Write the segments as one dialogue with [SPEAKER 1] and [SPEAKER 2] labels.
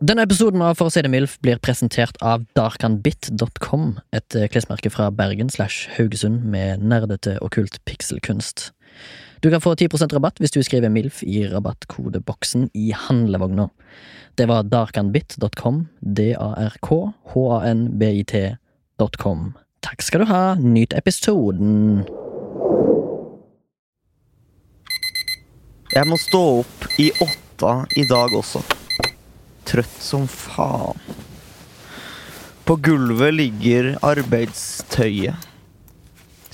[SPEAKER 1] Denne episoden av For å si det mildt blir presentert av darkanbit.com, et eh, klesmerke fra Bergen slash Haugesund med nerdete okkult pikselkunst. Du kan få 10 rabatt hvis du skriver MILF i rabattkodeboksen i handlevogna. Det var darkanbit.com, d-a-r-k-h-a-n-b-i-t.com. Takk skal du ha, nyt episoden!
[SPEAKER 2] Jeg må stå opp i åtta i dag også. Trøtt som faen. På gulvet ligger arbeidstøyet.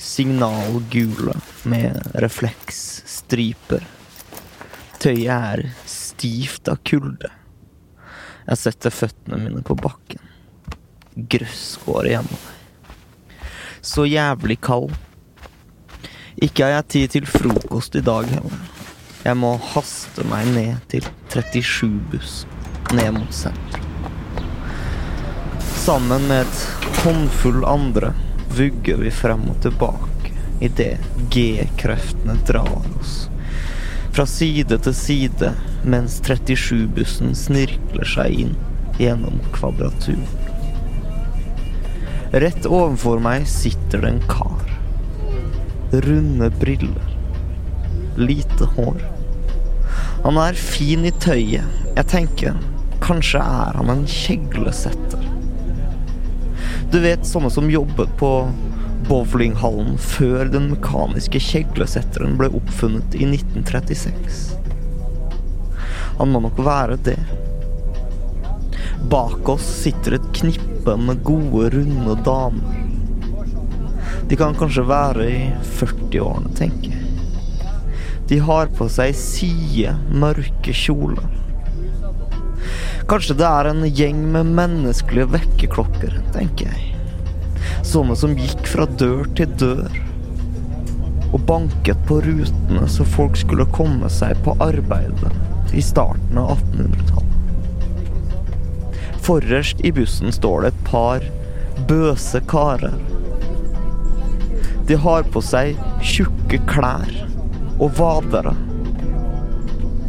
[SPEAKER 2] Signalgule med refleksstriper. Tøyet er stivt av kulde. Jeg setter føttene mine på bakken. Grøss går igjennom meg. Så jævlig kald. Ikke har jeg tid til frokost i dag heller. Jeg må haste meg ned til 37-buss, ned mot sentrum. Sammen med et håndfull andre vugger vi frem og tilbake idet G-kreftene drar oss fra side til side mens 37-bussen snirkler seg inn gjennom kvadratur. Rett overfor meg sitter det en kar. Runde briller lite hår. Han er fin i tøyet. Jeg tenker, kanskje er han en kjeglesetter. Du vet sånne som jobbet på bowlinghallen før den mekaniske kjeglesetteren ble oppfunnet i 1936. Han må nok være det. Bak oss sitter et knippe med gode, runde damer. De kan kanskje være i 40-årene, tenker jeg. De har på seg side, mørke kjoler. Kanskje det er en gjeng med menneskelige vekkerklokker, tenker jeg. Sånne som gikk fra dør til dør og banket på rutene så folk skulle komme seg på arbeidet i starten av 1800-tallet. Forrest i bussen står det et par bøse karer. De har på seg tjukke klær og vadere.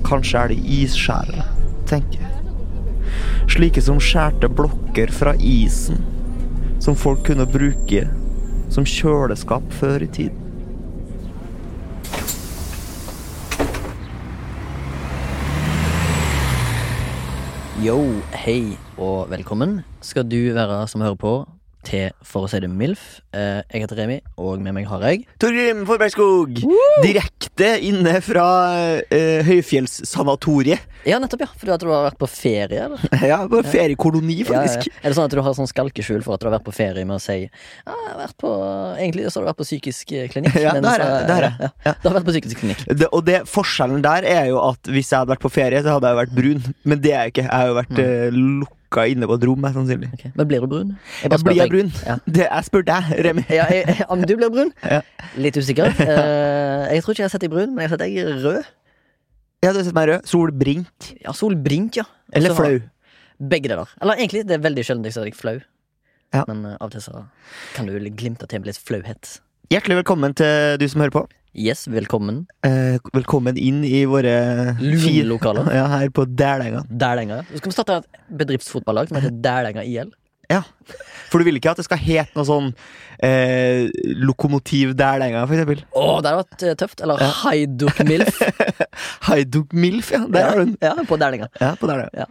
[SPEAKER 2] Kanskje er de isskjærere, tenker jeg. Slike som skjærte blokker fra isen, som folk kunne bruke som kjøleskap før i tiden.
[SPEAKER 1] Yo, hei og velkommen skal du være som hører på til For å si det MILF. Eh, Jeg heter Remi, og med meg har jeg
[SPEAKER 2] Torgrim Forbergskog, direkte inne fra eh, høyfjellssanatoriet.
[SPEAKER 1] Ja, nettopp, ja. Fordi at du har vært på ferie, eller?
[SPEAKER 2] ja, på feriekoloni,
[SPEAKER 1] Ja, ja.
[SPEAKER 2] faktisk.
[SPEAKER 1] Er det sånn at du har sånn skalkeskjul for at du har vært på ferie med å si ja, jeg har vært på, Egentlig så har du vært på psykisk eh, klinikk.
[SPEAKER 2] Ja,
[SPEAKER 1] men
[SPEAKER 2] det har
[SPEAKER 1] så-
[SPEAKER 2] jeg, det har jeg.
[SPEAKER 1] Ja,
[SPEAKER 2] Ja.
[SPEAKER 1] Du har vært på psykisk klinikk.
[SPEAKER 2] Det, og det, forskjellen der er jo at hvis jeg hadde vært på ferie, så hadde jeg jo vært brun. Men det er jeg ikke. Jeg har jo
[SPEAKER 1] Mm.
[SPEAKER 2] vært eh, lukka inne på et rom, jeg, sannsynlig.
[SPEAKER 1] Ok, Men blir du brun? bare
[SPEAKER 2] Jeg
[SPEAKER 1] spør
[SPEAKER 2] blir jeg
[SPEAKER 1] deg.
[SPEAKER 2] brun.
[SPEAKER 1] Ja.
[SPEAKER 2] Det jeg spør deg, Remi.
[SPEAKER 1] Ja, jeg, jeg- om du blir brun?
[SPEAKER 2] Ja.
[SPEAKER 1] Litt usikker. Eh, jeg tror ikke jeg har sett deg brun, men jeg har sett deg rød.
[SPEAKER 2] Ja, du har sett meg rød. Solbrink.
[SPEAKER 1] Ja, Solbrink, ja. Og
[SPEAKER 2] Eller
[SPEAKER 1] så har-
[SPEAKER 2] flau.
[SPEAKER 1] Begge deler. Eller egentlig, det er veldig sjelden jeg ser deg flau.
[SPEAKER 2] Ja.
[SPEAKER 1] Men eh, av og til så kan du glimte til med litt flauhet.
[SPEAKER 2] Hjertelig velkommen til du som hører på.
[SPEAKER 1] Yes, velkommen.
[SPEAKER 2] Eh, velkommen inn i våre fire-
[SPEAKER 1] Lunelokaler.
[SPEAKER 2] Ja, her på Dælenga.
[SPEAKER 1] Dælenga. Så skal vi starte et bedriftsfotballag som heter Dælenga IL.
[SPEAKER 2] Ja. For du vil ikke at det skal hete noe sånn eh, Lokomotiv Dælenga, for eksempel?
[SPEAKER 1] Åh, det hadde vært eh, tøft. Eller
[SPEAKER 2] Ja.
[SPEAKER 1] Haiduk Milf.
[SPEAKER 2] Haiduk Milf, ja. Der har du den.
[SPEAKER 1] ja, på Dælenga.
[SPEAKER 2] Ja, på Dælenga.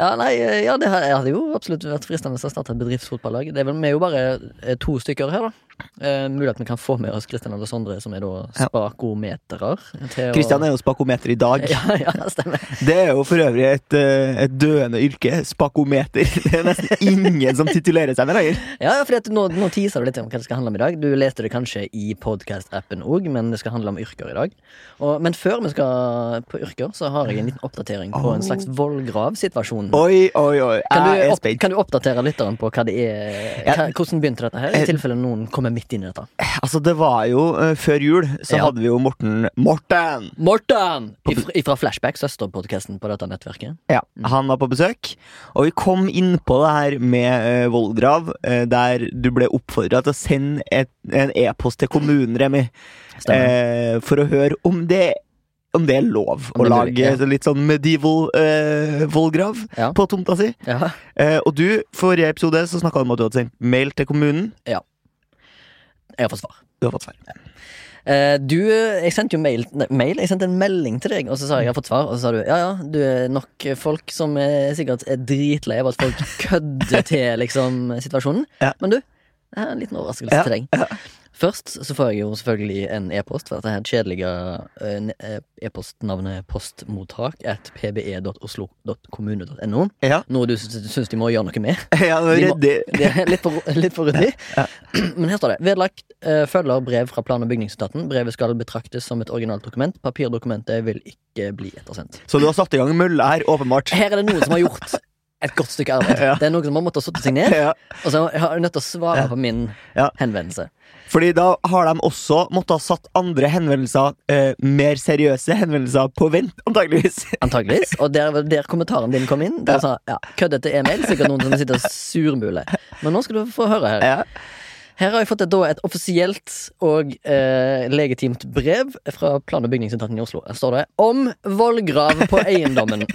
[SPEAKER 1] Ja, nei, eh, ja, det har- jeg hadde jo absolutt vært fristende å starte et bedriftsfotballag. Det er vel, vi er jo bare eh, to stykker her, da. Eh, mulig at vi kan få med oss Kristian og Sondre, som er da
[SPEAKER 2] Ja.
[SPEAKER 1] spakometerer. til å-
[SPEAKER 2] Kristian er jo spakometer i dag.
[SPEAKER 1] ja, ja, stemmer.
[SPEAKER 2] Det er jo for øvrig et, eh, et døende yrke. Spakometer. Det er nesten ingen som titulerer seg det lenger.
[SPEAKER 1] Ja, ja, fordi at nå, nå teaser du litt om hva det skal handle om i dag. Du leste det kanskje i podkast-appen òg, men det skal handle om yrker i dag. Og, men før vi skal på yrker, så har jeg en liten oppdatering på en slags vollgrav-situasjon.
[SPEAKER 2] Oi, oi, oi.
[SPEAKER 1] Kan
[SPEAKER 2] Jeg
[SPEAKER 1] du,
[SPEAKER 2] er
[SPEAKER 1] opp,
[SPEAKER 2] spent.
[SPEAKER 1] kan du oppdatere lytteren på hva det er,
[SPEAKER 2] Ja.
[SPEAKER 1] hva, hvordan begynte dette her?
[SPEAKER 2] Eh,
[SPEAKER 1] I tilfelle noen kommer midt inn i dette.
[SPEAKER 2] Altså, det var jo eh, før jul, så
[SPEAKER 1] Ja.
[SPEAKER 2] hadde vi jo Morten Morten!
[SPEAKER 1] Morten! Ifra, ifra Flashback, søsterpodkasten på dette nettverket.
[SPEAKER 2] Ja, Han var på besøk, og vi kom inn på det her med eh, vollgrav, eh, der du ble oppfordra til å sende et, en e-post til kommunen, Remi,
[SPEAKER 1] Stemmer.
[SPEAKER 2] eh, for å høre om det om det er lov
[SPEAKER 1] Om det er
[SPEAKER 2] å
[SPEAKER 1] mulig,
[SPEAKER 2] lage
[SPEAKER 1] ja.
[SPEAKER 2] litt sånn medieval eh, vollgrav
[SPEAKER 1] Ja.
[SPEAKER 2] på tomta si.
[SPEAKER 1] Ja.
[SPEAKER 2] Eh, og du, forrige episode så snakka du om at du hadde sendt mail til kommunen.
[SPEAKER 1] Jeg har fått svar.
[SPEAKER 2] Du har fått svar.
[SPEAKER 1] Eh, Du, jeg sendte jo mail, nei, mail Jeg sendte en melding til deg, og så sa jeg jeg har fått svar. Og så sa du ja ja, du er nok folk som er sikkert er dritlei av at folk kødder til liksom situasjonen.
[SPEAKER 2] Ja.
[SPEAKER 1] Men du, jeg har en liten overraskelse
[SPEAKER 2] Ja,
[SPEAKER 1] til deg. Først så får jeg jo selvfølgelig en e-post fra dette her kjedelige eh, ne- eh, e-postnavnet postmottak at pbe.oslo.kommune.no.
[SPEAKER 2] Ja.
[SPEAKER 1] Noe du syns de må gjøre noe med.
[SPEAKER 2] Ja, men
[SPEAKER 1] Vi må-
[SPEAKER 2] redde-
[SPEAKER 1] Det er litt for, litt for ryddig. Men her står det. Vedlagt eh, følger brev fra plan- og bygningsetaten. Brevet skal betraktes som et originalt dokument. Papirdokumentet vil ikke bli ettersendt.
[SPEAKER 2] Så du har satt i gang mølle her, åpenbart.
[SPEAKER 1] Her er det noen som har gjort et godt stykke arbeid.
[SPEAKER 2] Ja.
[SPEAKER 1] Det er noen som har måttet sitte seg ned,
[SPEAKER 2] Ja.
[SPEAKER 1] og så har de nødt til å svare
[SPEAKER 2] Ja.
[SPEAKER 1] på min
[SPEAKER 2] Ja.
[SPEAKER 1] henvendelse.
[SPEAKER 2] Fordi da har de også måttet ha satt andre henvendelser, eh, mer seriøse henvendelser, på vent, antageligvis.
[SPEAKER 1] Antageligvis. Og der, der kommentaren din kom inn, der sa ja, køddete e-mail. Sikkert noen som sitter og surmuler. Men nå skal du få høre her.
[SPEAKER 2] Ja.
[SPEAKER 1] Her har jeg fått et, da, et offisielt og eh, legitimt brev fra plan- og bygningsetaten i Oslo. Her står det 'Om vollgrav på eiendommen'.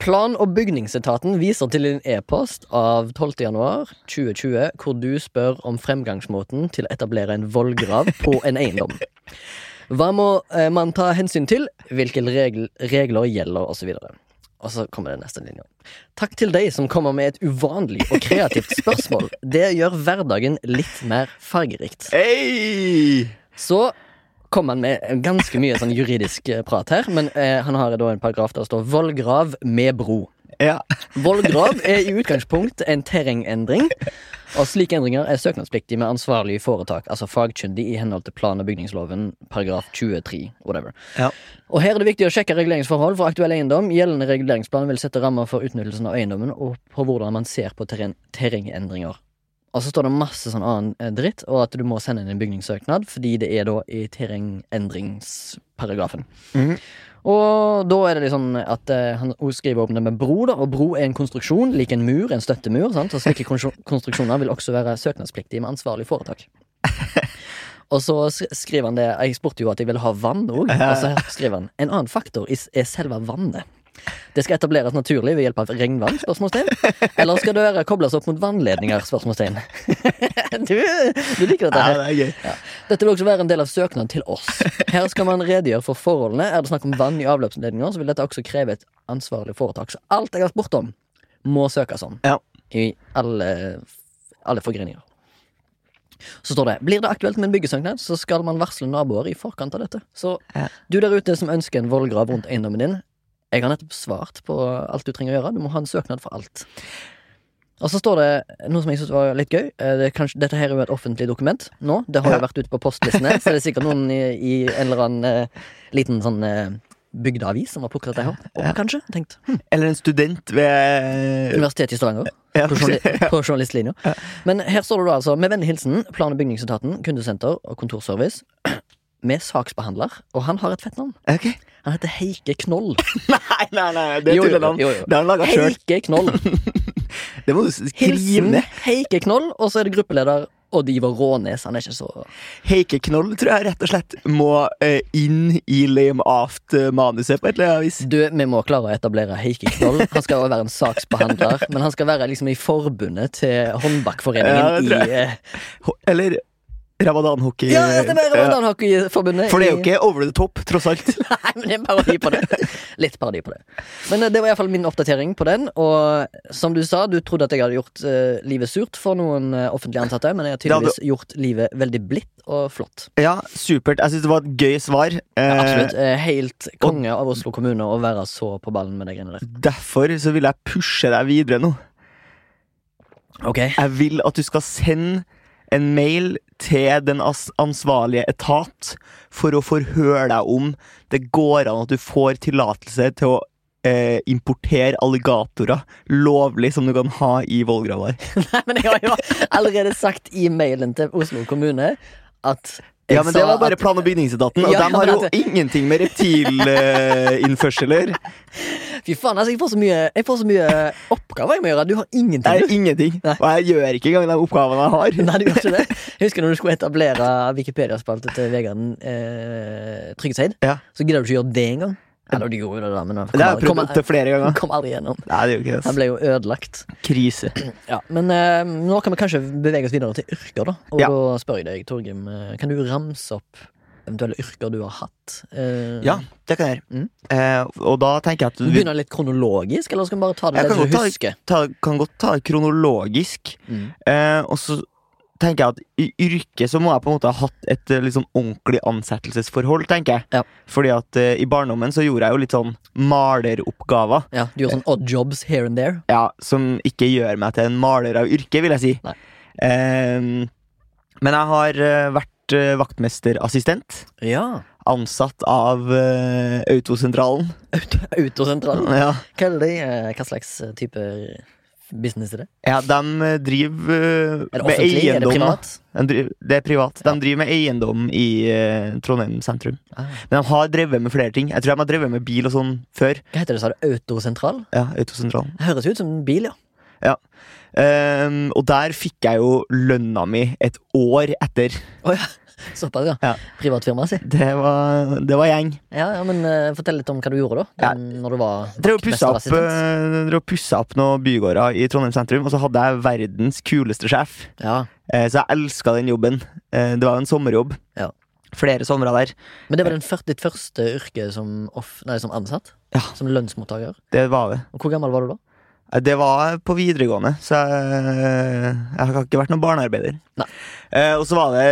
[SPEAKER 1] Plan- og bygningsetaten viser til en e-post av 12.1.2020 hvor du spør om fremgangsmåten til å etablere en vollgrav på en eiendom. Hva må eh, man ta hensyn til? Hvilke regl regler gjelder, osv. Og så kommer det neste linje. Takk til deg som kommer med et uvanlig og kreativt spørsmål. Det gjør hverdagen litt mer fargerikt.
[SPEAKER 2] Hey!
[SPEAKER 1] Så kom han med ganske mye sånn juridisk eh, prat her, men eh, han har da en paragraf der det står 'vollgrav med bro'.
[SPEAKER 2] Ja.
[SPEAKER 1] Vollgrav er i utgangspunkt en terrengendring, og slike endringer er søknadspliktig med ansvarlig foretak, altså fagkyndig i henhold til plan- og bygningsloven paragraf 23, whatever.
[SPEAKER 2] Ja.
[SPEAKER 1] Og her er det viktig å sjekke reguleringsforhold for aktuell eiendom. Gjeldende reguleringsplan vil sette rammer for utnyttelsen av eiendommen og på hvordan man ser på terren terrengendringer. Og så står det masse sånn annen eh, dritt, og at du må sende inn en bygningssøknad fordi det er da i terrengendringsparagrafen. Og da er det liksom at eh, han også skriver opp det med bro, da. Og bro er en konstruksjon lik en mur, en støttemur. Sant? Og slike konstru- konstruksjoner vil også være søknadspliktige med ansvarlig foretak. Og så s- skriver han det Jeg spurte jo at jeg ville ha vann òg. Og så her skriver han en annen faktor is- er selve vannet. Det skal etableres naturlig ved hjelp av regnvann? spørsmålstegn Eller skal det være kobles opp mot vannledninger? spørsmålstegn Du, du liker dette her.
[SPEAKER 2] ja, det er gøy.
[SPEAKER 1] Dette vil også være en del av søknaden til oss. Her skal man redegjøre for forholdene. Er det snakk om vann i avløpsledninger, så vil dette også kreve et ansvarlig foretak. Så alt jeg har spurt om, må søkes om.
[SPEAKER 2] Ja.
[SPEAKER 1] I alle, alle forgreninger. Så står det blir det aktuelt med en byggesøknad, så skal man varsle naboer i forkant av dette. Så
[SPEAKER 2] Ja.
[SPEAKER 1] du der ute som ønsker en vollgrav rundt eiendommen din, jeg har nettopp svart på alt du trenger å gjøre. Du må ha en søknad for alt. Og så står det noe som jeg synes var litt gøy. Eh, Det er kanskje, dette her er jo et offentlig dokument nå. Det har jo vært ute på postlistene, så det er sikkert noen i, i en eller annen eh, liten sånn eh, bygdeavis som har plukket dette her opp, kanskje. Tenkt. Hm,
[SPEAKER 2] Eller en student ved
[SPEAKER 1] Universitetet i Stavanger.
[SPEAKER 2] Ja.
[SPEAKER 1] På, journali på journalistlinja. Men her står det da altså med vennlig hilsen plan- og bygningsetaten, kundesenter og kontorservice. Med saksbehandler, og han har et fett navn.
[SPEAKER 2] Ok.
[SPEAKER 1] Han heter Heike Knoll.
[SPEAKER 2] Nei, nei, nei, det
[SPEAKER 1] Jo, jo,
[SPEAKER 2] er tullenavn.
[SPEAKER 1] jo, jo.
[SPEAKER 2] Det har han laga sjøl.
[SPEAKER 1] Heike Knoll.
[SPEAKER 2] Det må du skrive
[SPEAKER 1] Hilsen
[SPEAKER 2] ned.
[SPEAKER 1] Heike Knoll, og så er det gruppeleder Odd Ivar Rånes. Han er ikke så
[SPEAKER 2] Heikeknoll tror jeg rett og slett må eh, inn i Lame Aft-manuset på et eller annet vis.
[SPEAKER 1] Du, vi må klare å etablere Heikki Knoll. Han skal også være en saksbehandler, men han skal være liksom i forbundet til
[SPEAKER 2] Ja, det
[SPEAKER 1] håndbakforeningen
[SPEAKER 2] tror jeg.
[SPEAKER 1] i eh,
[SPEAKER 2] Ho- Eller ramadanhockey.
[SPEAKER 1] Ja, ja, det er bare Ramadanhockeyforbundet.
[SPEAKER 2] For det er
[SPEAKER 1] i-
[SPEAKER 2] jo ikke over the top, tross alt.
[SPEAKER 1] Nei, men det er parodi på det. Litt parodi på det. Men eh, det var iallfall min oppdatering på den. Og som du sa, du trodde at jeg hadde gjort eh, livet surt for noen eh, offentlig ansatte, men jeg har
[SPEAKER 2] Ja, du-
[SPEAKER 1] tydeligvis gjort livet veldig blidt og flott.
[SPEAKER 2] Ja, supert. Jeg syns det var et gøy svar. Eh,
[SPEAKER 1] Absolutt. eh, Helt konge av Oslo kommune å være så på ballen med de greiene der.
[SPEAKER 2] Eh, Derfor så vil jeg pushe deg videre nå.
[SPEAKER 1] Ok
[SPEAKER 2] Jeg vil at du skal sende en mail til den as- ansvarlige etat for å forhøre deg om det går an at du får tillatelse til å eh, importere alligatorer lovlig som du kan ha i vollgrava.
[SPEAKER 1] Nei, men jeg har jo allerede sagt i mailen til Oslo kommune at Jeg
[SPEAKER 2] Ja, men
[SPEAKER 1] sa
[SPEAKER 2] det var bare
[SPEAKER 1] at-
[SPEAKER 2] plan- og bygningsetaten, og
[SPEAKER 1] Ja,
[SPEAKER 2] de har jo
[SPEAKER 1] men at-
[SPEAKER 2] ingenting med reptilinnførseler.
[SPEAKER 1] Fy faen, altså, jeg får så mye, jeg får så mye oppgaver jeg må gjøre. Du har
[SPEAKER 2] Det
[SPEAKER 1] ingenting.
[SPEAKER 2] er ingenting.
[SPEAKER 1] Nei.
[SPEAKER 2] Og jeg gjør ikke engang de oppgavene jeg har.
[SPEAKER 1] Nei, du gjør ikke det. Jeg husker når du skulle etablere Wikipedia-spalte til Vegard eh, Tryggeseid.
[SPEAKER 2] Ja.
[SPEAKER 1] Så gidder du ikke gjøre det engang. Eller du gjorde det, da, men
[SPEAKER 2] Det har jeg
[SPEAKER 1] aldri-
[SPEAKER 2] prøvd opptil flere ganger.
[SPEAKER 1] kom aldri gjennom.
[SPEAKER 2] Nei, det er jo ikke
[SPEAKER 1] Den
[SPEAKER 2] det.
[SPEAKER 1] ble jo ødelagt.
[SPEAKER 2] ass. Krise.
[SPEAKER 1] Ja, Men eh, nå kan vi kanskje bevege oss videre til yrker, da. Og
[SPEAKER 2] Ja.
[SPEAKER 1] da spør jeg deg, Torgrim, eh, kan du ramse opp eventuelle yrker du har hatt? Eh,
[SPEAKER 2] Ja, det kan jeg gjøre.
[SPEAKER 1] Mm.
[SPEAKER 2] Eh, og da tenker jeg at
[SPEAKER 1] Vi
[SPEAKER 2] vi
[SPEAKER 1] begynner litt kronologisk, eller skal vi bare ta det
[SPEAKER 2] Jeg
[SPEAKER 1] det du
[SPEAKER 2] kan godt ta-
[SPEAKER 1] husker?
[SPEAKER 2] ta, kan godt ta det kronologisk.
[SPEAKER 1] Mm.
[SPEAKER 2] Eh, og så tenker jeg at i yrket så må jeg på en måte ha hatt et eh, liksom ordentlig ansettelsesforhold, tenker jeg.
[SPEAKER 1] Ja.
[SPEAKER 2] Fordi at eh, i barndommen så gjorde jeg jo litt sånn maleroppgaver.
[SPEAKER 1] Ja, Du gjorde sånn odd jobs here and there.
[SPEAKER 2] Ja, som ikke gjør meg til en maler av yrke, vil jeg si.
[SPEAKER 1] Nei.
[SPEAKER 2] Eh, men jeg har eh, vært eh, vaktmesterassistent.
[SPEAKER 1] Ja
[SPEAKER 2] Ansatt av eh, Autosentralen.
[SPEAKER 1] Autosentralen.
[SPEAKER 2] Ja.
[SPEAKER 1] Hva, er det, eh, hva slags eh, type business er det?
[SPEAKER 2] ja, de eh, driver eh,
[SPEAKER 1] Er det
[SPEAKER 2] med
[SPEAKER 1] offentlig? Er det
[SPEAKER 2] eiendom. da.
[SPEAKER 1] privat?
[SPEAKER 2] De driver, det er privat. De
[SPEAKER 1] Ja.
[SPEAKER 2] driver med eiendom i eh, Trondheim sentrum.
[SPEAKER 1] Ah.
[SPEAKER 2] Men de har drevet med flere ting. Jeg tror de har drevet med bil og sånn før.
[SPEAKER 1] Hva heter det, sa du? Autosentral?
[SPEAKER 2] Ja, Autosentralen.
[SPEAKER 1] Det Høres ut som en bil, ja.
[SPEAKER 2] Ehm, og der fikk jeg jo lønna mi et år etter.
[SPEAKER 1] Å ja. Såpass, ja.
[SPEAKER 2] Ja.
[SPEAKER 1] Privatfirmaet sitt.
[SPEAKER 2] Det var, det var gjeng.
[SPEAKER 1] Ja, ja, men eh, fortell litt om hva du gjorde, da.
[SPEAKER 2] Ja.
[SPEAKER 1] Den, Når du var
[SPEAKER 2] Jeg drev og pussa opp,
[SPEAKER 1] vaktmesterassistent.
[SPEAKER 2] eh, drev og pussa opp noen bygårder i Trondheim sentrum, og så hadde jeg verdens kuleste sjef.
[SPEAKER 1] Ja.
[SPEAKER 2] Eh, så jeg elska den jobben. Eh, det var jo en sommerjobb.
[SPEAKER 1] Ja.
[SPEAKER 2] Flere somre der.
[SPEAKER 1] Men det var den fyr- ditt første yrke som, off, nei, som ansatt?
[SPEAKER 2] Ja.
[SPEAKER 1] Som lønnsmottaker?
[SPEAKER 2] Det var det.
[SPEAKER 1] Og Hvor gammel var du da?
[SPEAKER 2] Eh, Det var på videregående, så jeg, jeg har ikke vært noen barnearbeider.
[SPEAKER 1] Nei.
[SPEAKER 2] Eh, og så var det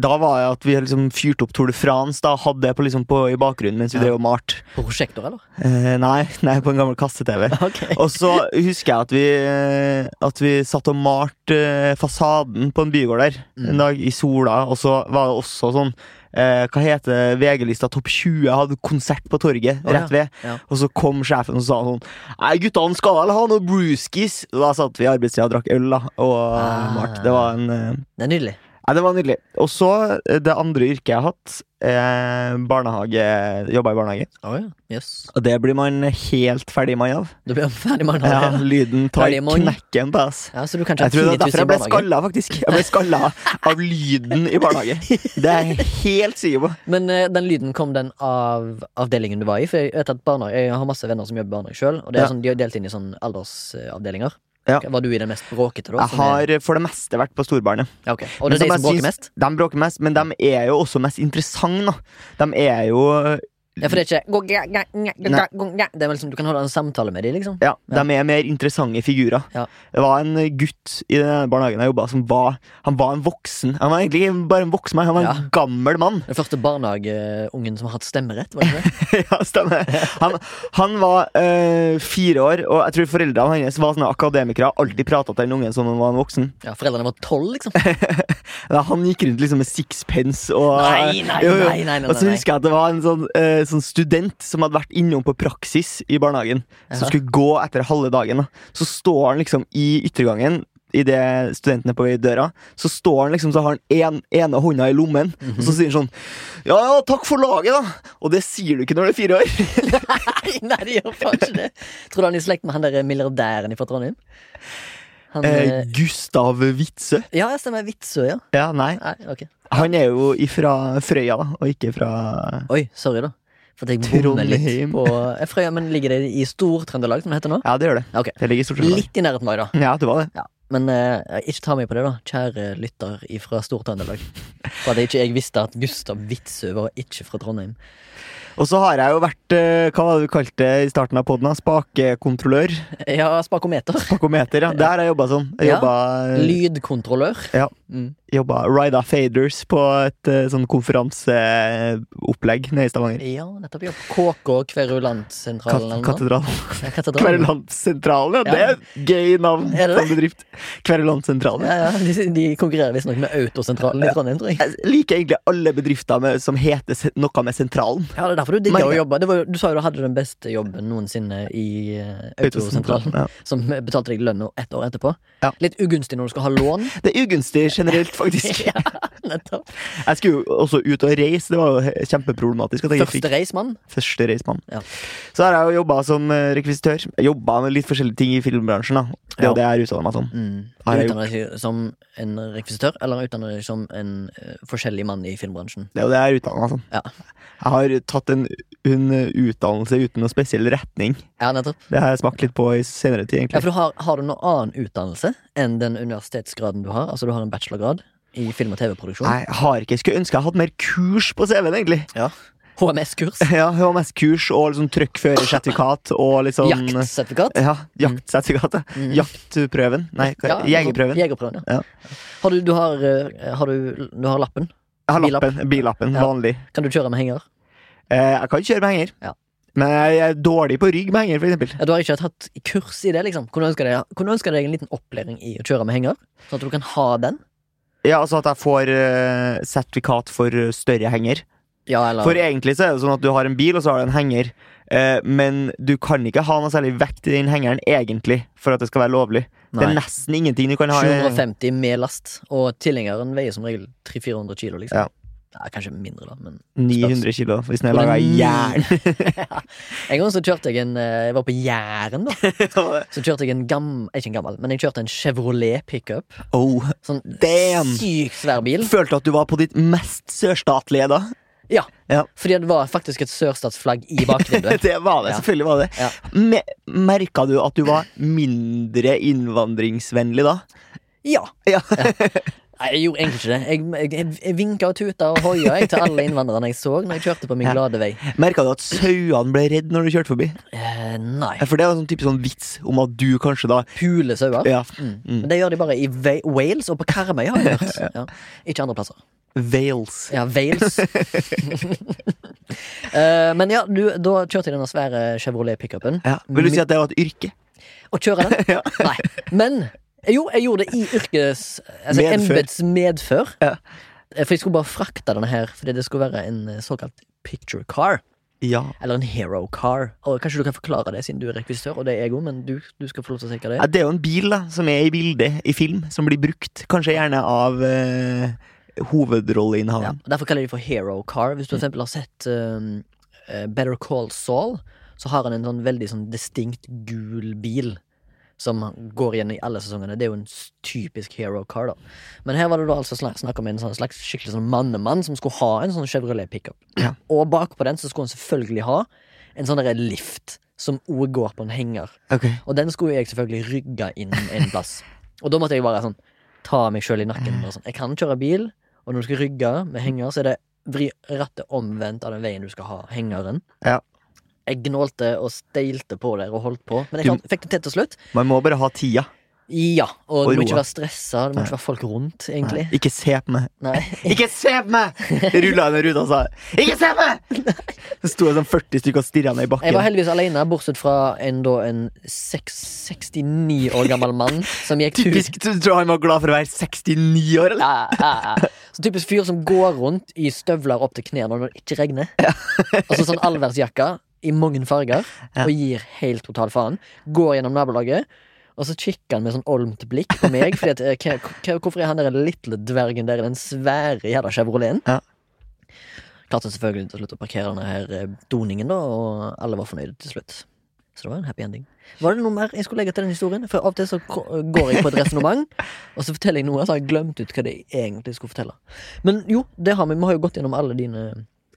[SPEAKER 2] Da var det at vi liksom fyrte opp Tour de France, da hadde det på, liksom på, i bakgrunnen mens vi
[SPEAKER 1] Ja.
[SPEAKER 2] drev og malte.
[SPEAKER 1] På prosjektor, eller?
[SPEAKER 2] Eh, nei, nei, på en gammel kasse-TV.
[SPEAKER 1] Ok
[SPEAKER 2] Og så husker jeg at vi, eh, at vi satt og malte eh, fasaden på en bygård der
[SPEAKER 1] Mm.
[SPEAKER 2] en dag i sola, og så var det også sånn eh, Hva heter det, VG-lista Topp 20 hadde konsert på torget
[SPEAKER 1] Å, ja.
[SPEAKER 2] rett ved,
[SPEAKER 1] Ja.
[SPEAKER 2] og så kom sjefen og sa sånn Nei, guttene skal vel ha noe brewskis? Da satt vi i arbeidstida og drakk øl, da, og
[SPEAKER 1] Ah.
[SPEAKER 2] malte. Det var en eh,
[SPEAKER 1] Det er nydelig.
[SPEAKER 2] Nei, det var nydelig. Og så eh, det andre yrket jeg har hatt, eh, barnehage, jobba i barnehage.
[SPEAKER 1] Å ja. Jøss.
[SPEAKER 2] Og det blir man helt ferdig mann av.
[SPEAKER 1] Du blir ferdig med den
[SPEAKER 2] Ja,
[SPEAKER 1] allerede.
[SPEAKER 2] lyden tar
[SPEAKER 1] Ferdig mann.
[SPEAKER 2] knekken på oss.
[SPEAKER 1] Ja, så du kan ikke
[SPEAKER 2] Jeg tror det
[SPEAKER 1] ha 10
[SPEAKER 2] var derfor
[SPEAKER 1] 000 i
[SPEAKER 2] jeg ble
[SPEAKER 1] barnehagen.
[SPEAKER 2] skalla, faktisk. Jeg ble skalla av lyden i barnehage. Det er jeg helt sikker på.
[SPEAKER 1] Men eh, den lyden kom den av avdelingen du var i? For jeg vet at barna, jeg har masse venner som jobber i barnehage sjøl, og det er
[SPEAKER 2] Ja.
[SPEAKER 1] sånn, de er delt inn i sånn aldersavdelinger.
[SPEAKER 2] Ja.
[SPEAKER 1] Var du i den mest bråkete, da?
[SPEAKER 2] Jeg har for det meste vært på storbarnet.
[SPEAKER 1] ja, ok. Og det er de som
[SPEAKER 2] Men som jeg
[SPEAKER 1] bråker
[SPEAKER 2] syns-
[SPEAKER 1] mest?
[SPEAKER 2] De bråker mest, men de er jo også mest interessante, da. De er jo
[SPEAKER 1] Ja, for det er ikke Det
[SPEAKER 2] Nei.
[SPEAKER 1] er vel som du kan holde en samtale med dem, liksom.
[SPEAKER 2] ja, de er mer interessante figurer.
[SPEAKER 1] Ja.
[SPEAKER 2] Det var en gutt i den barnehagen jeg jobba som var Han var en voksen. Han var egentlig bare en voksen mann. Han var en gammel mann.
[SPEAKER 1] Den første barnehageungen som har hatt stemmerett, var det det?
[SPEAKER 2] Ja, stemmer. Han, han var eh, fire år, og jeg tror foreldrene hans var sånne akademikere. Alltid prata til den ungen som om han var en voksen.
[SPEAKER 1] Ja, Foreldrene var tolv, liksom.
[SPEAKER 2] Ja, han gikk rundt liksom med sixpence og eh,
[SPEAKER 1] Nei, nei,
[SPEAKER 2] Jo, jo.
[SPEAKER 1] nei, nei, nei,
[SPEAKER 2] Og så
[SPEAKER 1] nei.
[SPEAKER 2] husker jeg at det var en sånn, eh, sånn student som hadde vært innom på praksis i barnehagen, som
[SPEAKER 1] Ja.
[SPEAKER 2] skulle gå etter halve dagen. Da. Så står han liksom i yttergangen. Idet studenten er på vei i døra, så står han liksom, så har han en, ene hånda i lommen. Og
[SPEAKER 1] Mhm.
[SPEAKER 2] så sier han sånn Ja, ja, takk for laget, da! Og det sier du ikke når du er fire år.
[SPEAKER 1] Nei, nei, de gjør faen ikke det. Tror du han er i slekt med han der milliardæren fra Trondheim? Han
[SPEAKER 2] Eh,
[SPEAKER 1] eh,
[SPEAKER 2] Gustav Witzøe.
[SPEAKER 1] Ja, jeg stemmer. Witzøe, ja.
[SPEAKER 2] Ja, nei.
[SPEAKER 1] Nei, ok.
[SPEAKER 2] Han er jo ifra Frøya, da, og ikke fra
[SPEAKER 1] Oi, sorry, da. For at jeg bommer litt
[SPEAKER 2] Trondheim.
[SPEAKER 1] på Eh, Frøya. Men ligger det i Stor-Trøndelag, som det heter nå?
[SPEAKER 2] Ja, det gjør det.
[SPEAKER 1] Ok.
[SPEAKER 2] Det ligger i Stortinget.
[SPEAKER 1] Litt i nærheten av meg, da.
[SPEAKER 2] Ja, det var det.
[SPEAKER 1] Men eh, ikke ta meg på det, da, kjære lytter fra Stor-Trøndelag. For at jeg ikke jeg visste at Gustav Witzøe var ikke fra Trondheim.
[SPEAKER 2] Og så har jeg jo vært eh, hva var det du kalte det i starten av poden? Spakekontrollør?
[SPEAKER 1] Ja, spakometer.
[SPEAKER 2] Spakometer, ja. Der har jeg jobba sånn. Jeg
[SPEAKER 1] Ja.
[SPEAKER 2] jobba,
[SPEAKER 1] Eh. Lydkontrollør.
[SPEAKER 2] Ja.
[SPEAKER 1] Mm.
[SPEAKER 2] jobba rida faders på et eh, sånn konferanseopplegg nede i Stavanger.
[SPEAKER 1] ja nettopp. Ja. KK Kverulansentralen
[SPEAKER 2] Kat
[SPEAKER 1] eller noe.
[SPEAKER 2] Katedralen.
[SPEAKER 1] Ja, katedralen.
[SPEAKER 2] Kverulandssentralen, ja. Det
[SPEAKER 1] Ja.
[SPEAKER 2] er et gøy navn
[SPEAKER 1] Er det
[SPEAKER 2] på en bedrift. Kverulandssentralen.
[SPEAKER 1] Ja, ja, de, de konkurrerer visstnok med Autosentralen i Trondheim, tror jeg.
[SPEAKER 2] Jeg liker egentlig alle bedrifter med, som heter se- noe med sentralen.
[SPEAKER 1] Ja, det er derfor du digger å
[SPEAKER 2] Men-
[SPEAKER 1] jobbe. Det var, jo- du sa jo du hadde den beste jobben noensinne i eh, Autosentralen.
[SPEAKER 2] Ja.
[SPEAKER 1] Som betalte deg lønna ett år etterpå.
[SPEAKER 2] Ja.
[SPEAKER 1] Litt ugunstig når du skal ha lån.
[SPEAKER 2] Det er ugunstig generelt, faktisk.
[SPEAKER 1] ja, nettopp.
[SPEAKER 2] Jeg skulle jo også ut og reise. Det var jo he- kjempeproblematisk. At jeg ikke fikk
[SPEAKER 1] Første reismann.
[SPEAKER 2] første reismann.
[SPEAKER 1] Ja.
[SPEAKER 2] Så har jeg jo jobba som eh, rekvisitør. Jeg Jobba med litt forskjellige ting i filmbransjen. da Det er
[SPEAKER 1] Ja.
[SPEAKER 2] jo det jeg utdanna meg som.
[SPEAKER 1] Mm. Du
[SPEAKER 2] Har jeg
[SPEAKER 1] utdanner deg som en rekvisitør, eller utdanner deg som en eh, forskjellig mann i filmbransjen?
[SPEAKER 2] Det er jo det jeg er utdannet meg som.
[SPEAKER 1] Ja.
[SPEAKER 2] Jeg har tatt en, en utdannelse uten noen spesiell retning.
[SPEAKER 1] Ja, nettopp.
[SPEAKER 2] Det har jeg smakt litt på i senere tid,
[SPEAKER 1] Ja,
[SPEAKER 2] egentlig.
[SPEAKER 1] for du har, har du noen annen utdannelse enn den universitetsgraden du har? Altså du har en bachelorgrad i film- og TV-produksjon?
[SPEAKER 2] Nei, jeg har ikke. Skulle ønske jeg hadde mer kurs på CV-en, egentlig.
[SPEAKER 1] HMS-kurs?
[SPEAKER 2] Ja, HMS-kurs og liksom trøkkførersertifikat og liksom
[SPEAKER 1] Jaktsertifikat?
[SPEAKER 2] Ja, jaktsertifikatet.
[SPEAKER 1] Mm.
[SPEAKER 2] Jaktprøven. Nei, hva-
[SPEAKER 1] Ja, sånn-
[SPEAKER 2] jegerprøven.
[SPEAKER 1] Jegerprøven, ja.
[SPEAKER 2] Ja.
[SPEAKER 1] Har du, du, har, eh, har du, du har lappen.
[SPEAKER 2] Jeg har
[SPEAKER 1] bilapp.
[SPEAKER 2] lappen. Bilappen.
[SPEAKER 1] Ja.
[SPEAKER 2] Vanlig.
[SPEAKER 1] Kan du kjøre med henger?
[SPEAKER 2] Eh, jeg kan kjøre med henger.
[SPEAKER 1] Ja.
[SPEAKER 2] Men jeg er dårlig på rygg med henger, for eksempel.
[SPEAKER 1] Ja, du har ikke hatt kurs i det, liksom. Kunne du ønske deg, kunne du ønske deg en liten opplæring i å kjøre med henger? Sånn at du kan ha den?
[SPEAKER 2] Ja, altså at jeg får eh, sertifikat for eh, større henger.
[SPEAKER 1] Ja, eller
[SPEAKER 2] For egentlig så er det sånn at du har en bil, og så har du en henger. Eh, men du kan ikke ha noe særlig vekt i den hengeren, egentlig, for at det skal være lovlig. Det
[SPEAKER 1] Nei.
[SPEAKER 2] er nesten ingenting du kan ha. i-
[SPEAKER 1] 750 med last, og tilhengeren veier som regel 300-400 kilo, liksom.
[SPEAKER 2] Ja.
[SPEAKER 1] Nei, kanskje mindre, da, men
[SPEAKER 2] 900 kilo, hvis den er
[SPEAKER 1] Og det er
[SPEAKER 2] laga av
[SPEAKER 1] ni-
[SPEAKER 2] jern.
[SPEAKER 1] En gang så kjørte jeg en eh, Jeg var på Jæren, da. Så kjørte jeg en gammel Ikke en gammel, men jeg kjørte en Chevrolet pickup.
[SPEAKER 2] oh,
[SPEAKER 1] Sånn
[SPEAKER 2] damn!
[SPEAKER 1] sykt svær bil.
[SPEAKER 2] Følte at du var på ditt mest sørstatlige da.
[SPEAKER 1] Ja.
[SPEAKER 2] Ja.
[SPEAKER 1] Fordi det var faktisk et sørstatsflagg i bakvinduet.
[SPEAKER 2] Det var det,
[SPEAKER 1] Ja.
[SPEAKER 2] selvfølgelig var det.
[SPEAKER 1] Ja.
[SPEAKER 2] Me Merka du at du var mindre innvandringsvennlig da?
[SPEAKER 1] ja.
[SPEAKER 2] Ja.
[SPEAKER 1] Nei, jeg gjorde egentlig ikke det. Jeg, jeg, jeg vinka og tuta og hoia jeg, til alle innvandrerne jeg så når jeg kjørte på min
[SPEAKER 2] Ja.
[SPEAKER 1] glade vei.
[SPEAKER 2] Merka du at sauene ble redd når du kjørte forbi?
[SPEAKER 1] Eh, nei.
[SPEAKER 2] For det var en sånn type sånn vits om at du kanskje da
[SPEAKER 1] Pule sauer.
[SPEAKER 2] Ja, mm,
[SPEAKER 1] Men det gjør de bare i Ve- Wales og på Karmøy, har jeg hørt. Ja. Ikke andre plasser.
[SPEAKER 2] Wales.
[SPEAKER 1] Ja, Wales. Eh, men ja, du, da kjørte jeg denne svære Chevrolet-pickupen.
[SPEAKER 2] Ja. Vil du si at det var et yrke?
[SPEAKER 1] Og kjøre den?
[SPEAKER 2] Ja.
[SPEAKER 1] Nei. Men jo, jeg gjorde det i yrkes... Altså
[SPEAKER 2] Medfør.
[SPEAKER 1] embets medfør.
[SPEAKER 2] Ja.
[SPEAKER 1] Eh, For jeg skulle bare frakte denne her, fordi det skulle være en eh, såkalt picture car.
[SPEAKER 2] Ja.
[SPEAKER 1] Eller en hero car. Og Kanskje du kan forklare det, siden du er rekvisitør, og det er jeg òg, men du, du skal få lov til å si hva det
[SPEAKER 2] Ja,
[SPEAKER 1] er.
[SPEAKER 2] Det er jo en bil da, som er i bildet i film, som blir brukt. Kanskje gjerne av eh,
[SPEAKER 1] Ja.
[SPEAKER 2] hovedrolleinnehaveren.
[SPEAKER 1] Derfor kaller de det for hero car. Hvis du
[SPEAKER 2] Mm.
[SPEAKER 1] for eksempel har sett um, eh, Better Call Saul, så har han en sånn veldig sånn distinkt gul bil. Som går igjen i alle sesongene. Det er jo en s- typisk hero car. da Men her var det da altså sla- snakk om en sånn slags skikkelig sånn mannemann som skulle ha en sånn Chevrolet pickup.
[SPEAKER 2] Ja.
[SPEAKER 1] Og bakpå den så skulle han selvfølgelig ha en sånn derre lift som òg går på en henger.
[SPEAKER 2] Ok.
[SPEAKER 1] Og den skulle jeg selvfølgelig rygge inn en plass. Og da måtte jeg bare sånn ta meg sjøl i nakken. Og sånn. Jeg kan kjøre bil, og når du skal rygge med henger, så er det vri rattet omvendt av den veien du skal ha hengeren.
[SPEAKER 2] Ja.
[SPEAKER 1] Jeg gnålte og steilte på der og holdt på, men jeg klarte- fikk det til til slutt.
[SPEAKER 2] Man må bare ha tida.
[SPEAKER 1] Ja, og,
[SPEAKER 2] Og
[SPEAKER 1] du må ikke
[SPEAKER 2] roa.
[SPEAKER 1] være stressa, det må ikke være folk rundt, egentlig.
[SPEAKER 2] Nei, Ikke se på meg.
[SPEAKER 1] Nei.
[SPEAKER 2] Ikke se på meg! Rulla henne ut og sa Ikke se på meg! Så sto det sånn 40 stykker og stirra ned i
[SPEAKER 1] Jeg
[SPEAKER 2] bakken.
[SPEAKER 1] var heldigvis alene, bortsett fra en, da, en seks- 69 år gammel mann som gikk tur.
[SPEAKER 2] Typisk, Du tror han var glad for å være 69 år, eller?
[SPEAKER 1] Ja, ja, ja. Så typisk fyr som går rundt i støvler opp til knærne når det ikke regner. Og så sånn allværsjakka i mange farger
[SPEAKER 2] Ja.
[SPEAKER 1] og gir helt total faen. Går gjennom nabolaget, og så kikker han med sånn olmt blikk på meg. Fordi at, eh, hva- hva- hvorfor er han der lille dvergen der i den svære jævla Chevroleten?
[SPEAKER 2] Ja.
[SPEAKER 1] Klarte han selvfølgelig til slutt å parkere denne her eh, doningen, da, og alle var fornøyde til slutt. Så det var en happy ending. Var det noe mer jeg skulle legge til den historien? For av og til så ko- går jeg på et resonnement, og så forteller jeg noe, og så har jeg glemt ut hva det egentlig skulle fortelle. Men jo, det har vi. Vi har jo gått gjennom alle dine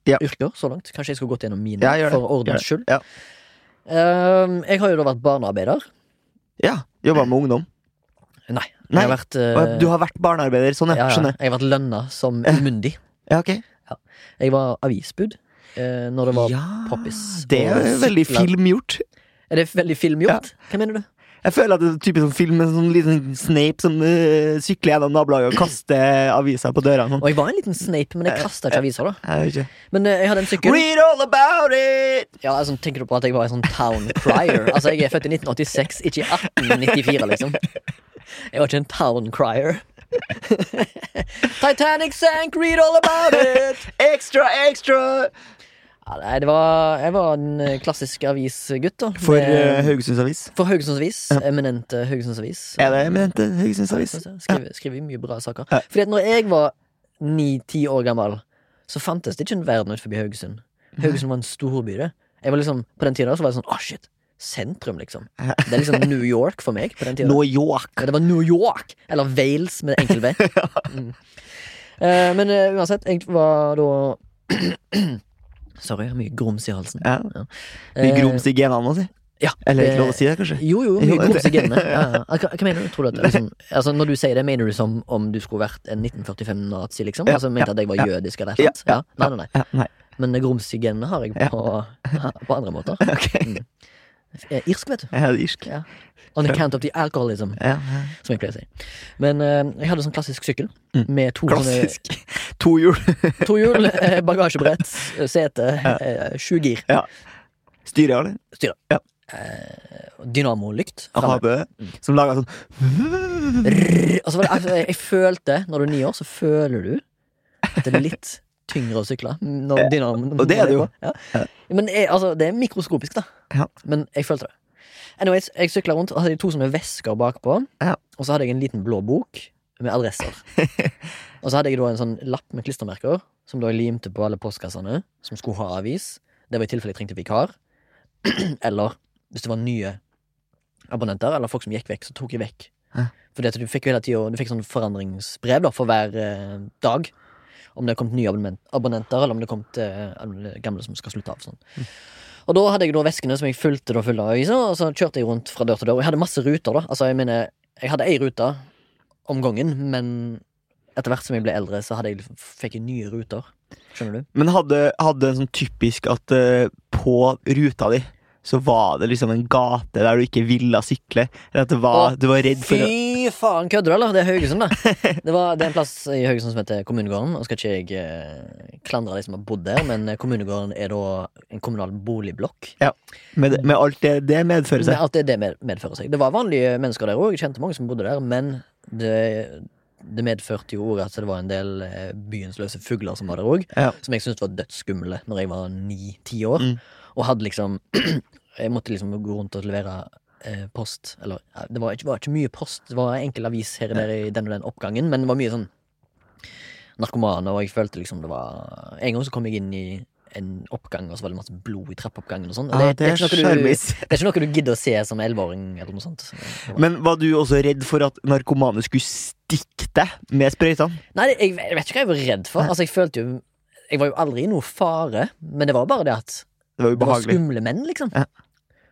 [SPEAKER 2] Ja.
[SPEAKER 1] yrker så langt. Kanskje jeg skulle gått gjennom mine,
[SPEAKER 2] Ja, gjør det.
[SPEAKER 1] for ordens
[SPEAKER 2] Gjør
[SPEAKER 1] skyld.
[SPEAKER 2] det. Ja.
[SPEAKER 1] Ehm, jeg har jo da vært barnearbeider.
[SPEAKER 2] Ja, Jobba med ungdom.
[SPEAKER 1] Nei.
[SPEAKER 2] Nei.
[SPEAKER 1] Jeg har vært, eh,
[SPEAKER 2] Og Du har vært barnearbeider, sånn,
[SPEAKER 1] ja,
[SPEAKER 2] ja.
[SPEAKER 1] ja,
[SPEAKER 2] Skjønner.
[SPEAKER 1] jeg har vært lønna som umyndig.
[SPEAKER 2] Ja, ok.
[SPEAKER 1] Jeg var avisbud eh, når det var
[SPEAKER 2] Ja,
[SPEAKER 1] poppis
[SPEAKER 2] det er jo
[SPEAKER 1] og
[SPEAKER 2] veldig
[SPEAKER 1] sykler.
[SPEAKER 2] film gjort.
[SPEAKER 1] Er det veldig filmgjort? Hva mener du?
[SPEAKER 2] Jeg føler at det er typisk sånn film med en sånn liten Snape som øh, sykler gjennom nabolaget og kaster aviser på dørene.
[SPEAKER 1] Og jeg var en liten snape, men jeg kasta ikke aviser, da.
[SPEAKER 2] Sånn. Jeg vet ikke.
[SPEAKER 1] Men eh, jeg hadde en sykkel.
[SPEAKER 2] Read all about it!
[SPEAKER 1] Ja, altså, Tenker du på at jeg var en sånn town crier? Altså, Jeg er født i 1986, ikke i 1894, liksom. Jeg var ikke en town crier. Titanic sank, read all about it!
[SPEAKER 2] Extra, extra!
[SPEAKER 1] Ja, nei, det var, jeg var en eh, klassisk avisgutt, da.
[SPEAKER 2] For eh,
[SPEAKER 1] Med-
[SPEAKER 2] Haugesunds Avis.
[SPEAKER 1] for Haugesundsavis. Eminente Haugesundsavis.
[SPEAKER 2] Er det eminente Haugesunds Avis?
[SPEAKER 1] Skriver, skriver mye bra saker.
[SPEAKER 2] Ja.
[SPEAKER 1] Fordi at når jeg var ni-ti år gammel, så fantes det ikke en verden utenfor Haugesund.
[SPEAKER 2] Mhm.
[SPEAKER 1] Haugesund var en storby, det. Jeg var liksom, på den tida så var det sånn Å, shit! Sentrum, liksom.
[SPEAKER 2] Ja.
[SPEAKER 1] Det er liksom New York for meg på den tida.
[SPEAKER 2] New York.
[SPEAKER 1] Ja, det var New York! Eller Wales med enkel V. Mm. Eh, men eh, uansett, jeg var da Sorry, jeg har mye grums i halsen.
[SPEAKER 2] Ja.
[SPEAKER 1] Eh,
[SPEAKER 2] Mye grums i genene, si.
[SPEAKER 1] ja, eh,
[SPEAKER 2] Eller
[SPEAKER 1] det-
[SPEAKER 2] ikke lov å si det, kanskje?
[SPEAKER 1] Jo, jo, mye
[SPEAKER 2] Jo, det-
[SPEAKER 1] grums i genene. Ja, ja. Hva, hva mener du? Tror du at, det liksom, altså, når du sier det, mener du som om du skulle vært en 1945-nazi, liksom?
[SPEAKER 2] Ja,
[SPEAKER 1] altså mente at jeg var
[SPEAKER 2] ja,
[SPEAKER 1] jødisk eller et eller annet?
[SPEAKER 2] ja,
[SPEAKER 1] Ja, nei, nei, nei.
[SPEAKER 2] Ja, nei.
[SPEAKER 1] Men grums i genene har jeg på, på andre måter.
[SPEAKER 2] Ok.
[SPEAKER 1] Mm. Eh, Irsk, vet du.
[SPEAKER 2] Jeg er irsk.
[SPEAKER 1] Ja. On account of the alcoholism,
[SPEAKER 2] Ja, ja.
[SPEAKER 1] som jeg pleier å si. Men eh, jeg hadde sånn klassisk sykkel
[SPEAKER 2] Mm.
[SPEAKER 1] med to sånne
[SPEAKER 2] Klassisk. To hjul.
[SPEAKER 1] To hjul, eh, bagasjebrett, eh, sete, eh, sju gir.
[SPEAKER 2] Styrer, eller?
[SPEAKER 1] Eh, Dynamolykt. framme.
[SPEAKER 2] AHB.
[SPEAKER 1] Mm.
[SPEAKER 2] Som sånn lager sånn
[SPEAKER 1] Rrr, Og så var det, altså, jeg, jeg følte, når du er ni år, så føler du at det er litt tyngre å sykle. Når dynamoen
[SPEAKER 2] Eh, og det er det jo.
[SPEAKER 1] Ja. Men jeg, altså, det er mikroskopisk, da.
[SPEAKER 2] Ja.
[SPEAKER 1] Men jeg følte det. Anyways, jeg sykla rundt og hadde to sånne vesker bakpå.
[SPEAKER 2] Ja.
[SPEAKER 1] Og så hadde jeg en liten blå bok med adresser. og så hadde jeg da en sånn lapp med klistremerker som da jeg limte på alle postkassene som skulle ha avis. Det var i tilfelle jeg trengte vikar. eller hvis det var nye abonnenter, eller folk som gikk vekk, så tok jeg vekk.
[SPEAKER 2] Ja.
[SPEAKER 1] Fordi at du fikk jo hele tiden, du fikk sånn forandringsbrev da, for hver eh, dag. Om det har kommet nye abonnement- abonnenter, eller om det har kommet eh, gamle som skal slutte av. Sånn. Og da hadde jeg da veskene som jeg fulgte da fulle av aviser, og så kjørte jeg rundt fra dør til dør. Og jeg hadde masse ruter, da. Altså, jeg mener, jeg hadde ei rute om gangen, men etter hvert som jeg ble eldre, så hadde jeg, liksom, fikk jeg nye ruter. Skjønner du?
[SPEAKER 2] Men hadde, hadde en sånn typisk at eh, på ruta di så var det liksom en gate der du ikke ville sykle. Eller at det var,
[SPEAKER 1] Å,
[SPEAKER 2] du var redd for å-
[SPEAKER 1] Fy faen, kødder du, eller? Det er Haugesund, da. Det, var, det er en plass i Haugesund som heter Kommunegården. Og skal ikke jeg eh, klandre de som har bodd der, men eh, Kommunegården er da en kommunal boligblokk.
[SPEAKER 2] med, med alt det det medfører
[SPEAKER 1] Med
[SPEAKER 2] seg.
[SPEAKER 1] alt det det med- medfører seg. Det var vanlige mennesker der òg, jeg kjente mange som bodde der, men det, det medførte jo også at det var en del eh, byens løse fugler som var der òg,
[SPEAKER 2] Ja.
[SPEAKER 1] som jeg syntes var dødsskumle når jeg var ni-ti år,
[SPEAKER 2] Mm.
[SPEAKER 1] og hadde liksom Jeg måtte liksom gå rundt og levere eh, post, eller ja, det var ikke, var ikke mye post, det var enkel avis her og der i den og den oppgangen, men det var mye sånn narkomane, og jeg følte liksom det var En gang så kom jeg inn i en oppgang, og så var det masse blod i trappeoppgangen og sånn.
[SPEAKER 2] Ja, Ah, det er
[SPEAKER 1] ikke noe du-
[SPEAKER 2] sjarmis.
[SPEAKER 1] det er ikke noe du gidder å se som elleveåring eller noe sånt.
[SPEAKER 2] Men var du også redd for at narkomane skulle stikke deg med sprøytene?
[SPEAKER 1] Nei, jeg, jeg vet ikke hva jeg var redd for. Altså, jeg følte jo Jeg var jo aldri i noe fare, men det var bare det at
[SPEAKER 2] Det var
[SPEAKER 1] det var
[SPEAKER 2] ubehagelig.
[SPEAKER 1] skumle menn, liksom.
[SPEAKER 2] Ja.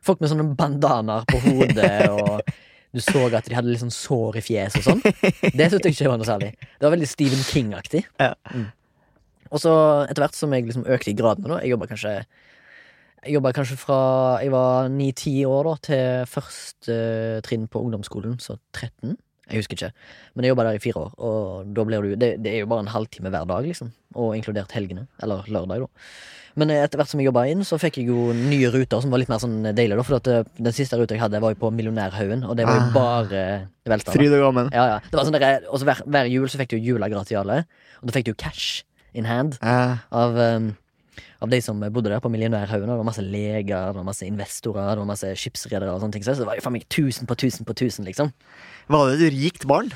[SPEAKER 1] Folk med sånne bandanaer på hodet, og du så at de hadde litt sånn sår i fjeset og sånn. Det syntes jeg ikke var noe særlig. Det var veldig Stephen King-aktig.
[SPEAKER 2] Ja.
[SPEAKER 1] Mm. Og så etter hvert som jeg liksom økte i gradene, da Jeg jobba kanskje Jeg jobbet kanskje fra jeg var ni-ti år da til første eh, trinn på ungdomsskolen, så 13. Jeg husker ikke, men jeg jobba der i fire år, og da blir du det, det er jo bare en halvtime hver dag, liksom. Og inkludert helgene. Eller lørdag, da. Men eh, etter hvert som jeg jobba inn, så fikk jeg jo nye ruter som var litt mer sånn deilige, da. For at eh, den siste ruta jeg hadde, var jo på Millionærhaugen, og det var jo
[SPEAKER 2] Ah.
[SPEAKER 1] bare eh, velstand.
[SPEAKER 2] Fryd og gammen.
[SPEAKER 1] Ja, ja. Det var sånn der, og så hver, hver jul så fikk du jula gratiale, og da fikk du cash in hand
[SPEAKER 2] Eh,
[SPEAKER 1] av, um, av de som bodde der på Millionærhaugen. og Det var masse leger, det var masse investorer, det var masse skipsredere og sånne ting. Så det var jo faen meg tusen på tusen på tusen, liksom.
[SPEAKER 2] var du et rikt barn?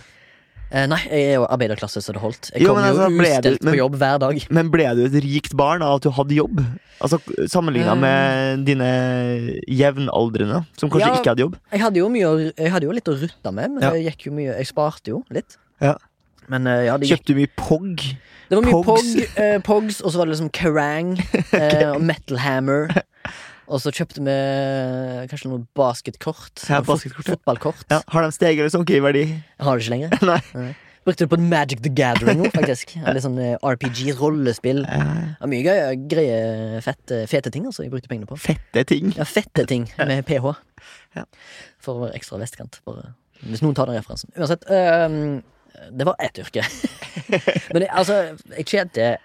[SPEAKER 1] Eh, nei, jeg er jo arbeiderklasse, så det holdt. Jeg
[SPEAKER 2] Jo,
[SPEAKER 1] kom
[SPEAKER 2] men
[SPEAKER 1] jo
[SPEAKER 2] altså, ble
[SPEAKER 1] ustelt
[SPEAKER 2] du- men-
[SPEAKER 1] på jobb hver dag.
[SPEAKER 2] Men ble du et rikt barn av at du hadde jobb? Altså Sammenligna
[SPEAKER 1] Eh.
[SPEAKER 2] med dine jevnaldrende, som kanskje
[SPEAKER 1] Ja.
[SPEAKER 2] ikke hadde jobb.
[SPEAKER 1] Jeg hadde jo, mye, å- jeg hadde jo litt å rutte med, men
[SPEAKER 2] Ja.
[SPEAKER 1] jeg gikk jo mye Jeg sparte jo litt.
[SPEAKER 2] Ja.
[SPEAKER 1] Men eh, ja, det gikk
[SPEAKER 2] Kjøpte du mye POG?
[SPEAKER 1] Det var mye Pogs,
[SPEAKER 2] Pogs.
[SPEAKER 1] eh, Pogs og så var det liksom Kerrang eh, og Metal Hammer. Og så kjøpte vi kanskje noe basketkort.
[SPEAKER 2] Ja,
[SPEAKER 1] noe fot-
[SPEAKER 2] basketkort, ja.
[SPEAKER 1] Fotballkort.
[SPEAKER 2] Ja. Har de steget eller sunket i verdi?
[SPEAKER 1] Jeg har det ikke lenger.
[SPEAKER 2] Nei.
[SPEAKER 1] Brukte det på Magic the Gathering nå, faktisk. Litt sånn eh, RPG, rollespill. Det
[SPEAKER 2] Eh,
[SPEAKER 1] var mye gøye, greie, fette, fete ting altså, jeg brukte pengene på.
[SPEAKER 2] Fette ting.
[SPEAKER 1] Ja, fette ting med ph.
[SPEAKER 2] Ja.
[SPEAKER 1] For å være ekstra vestkant. Bare. Hvis noen tar den referansen. Uansett. øhm, det var ett yrke. Men det, altså, jeg tjente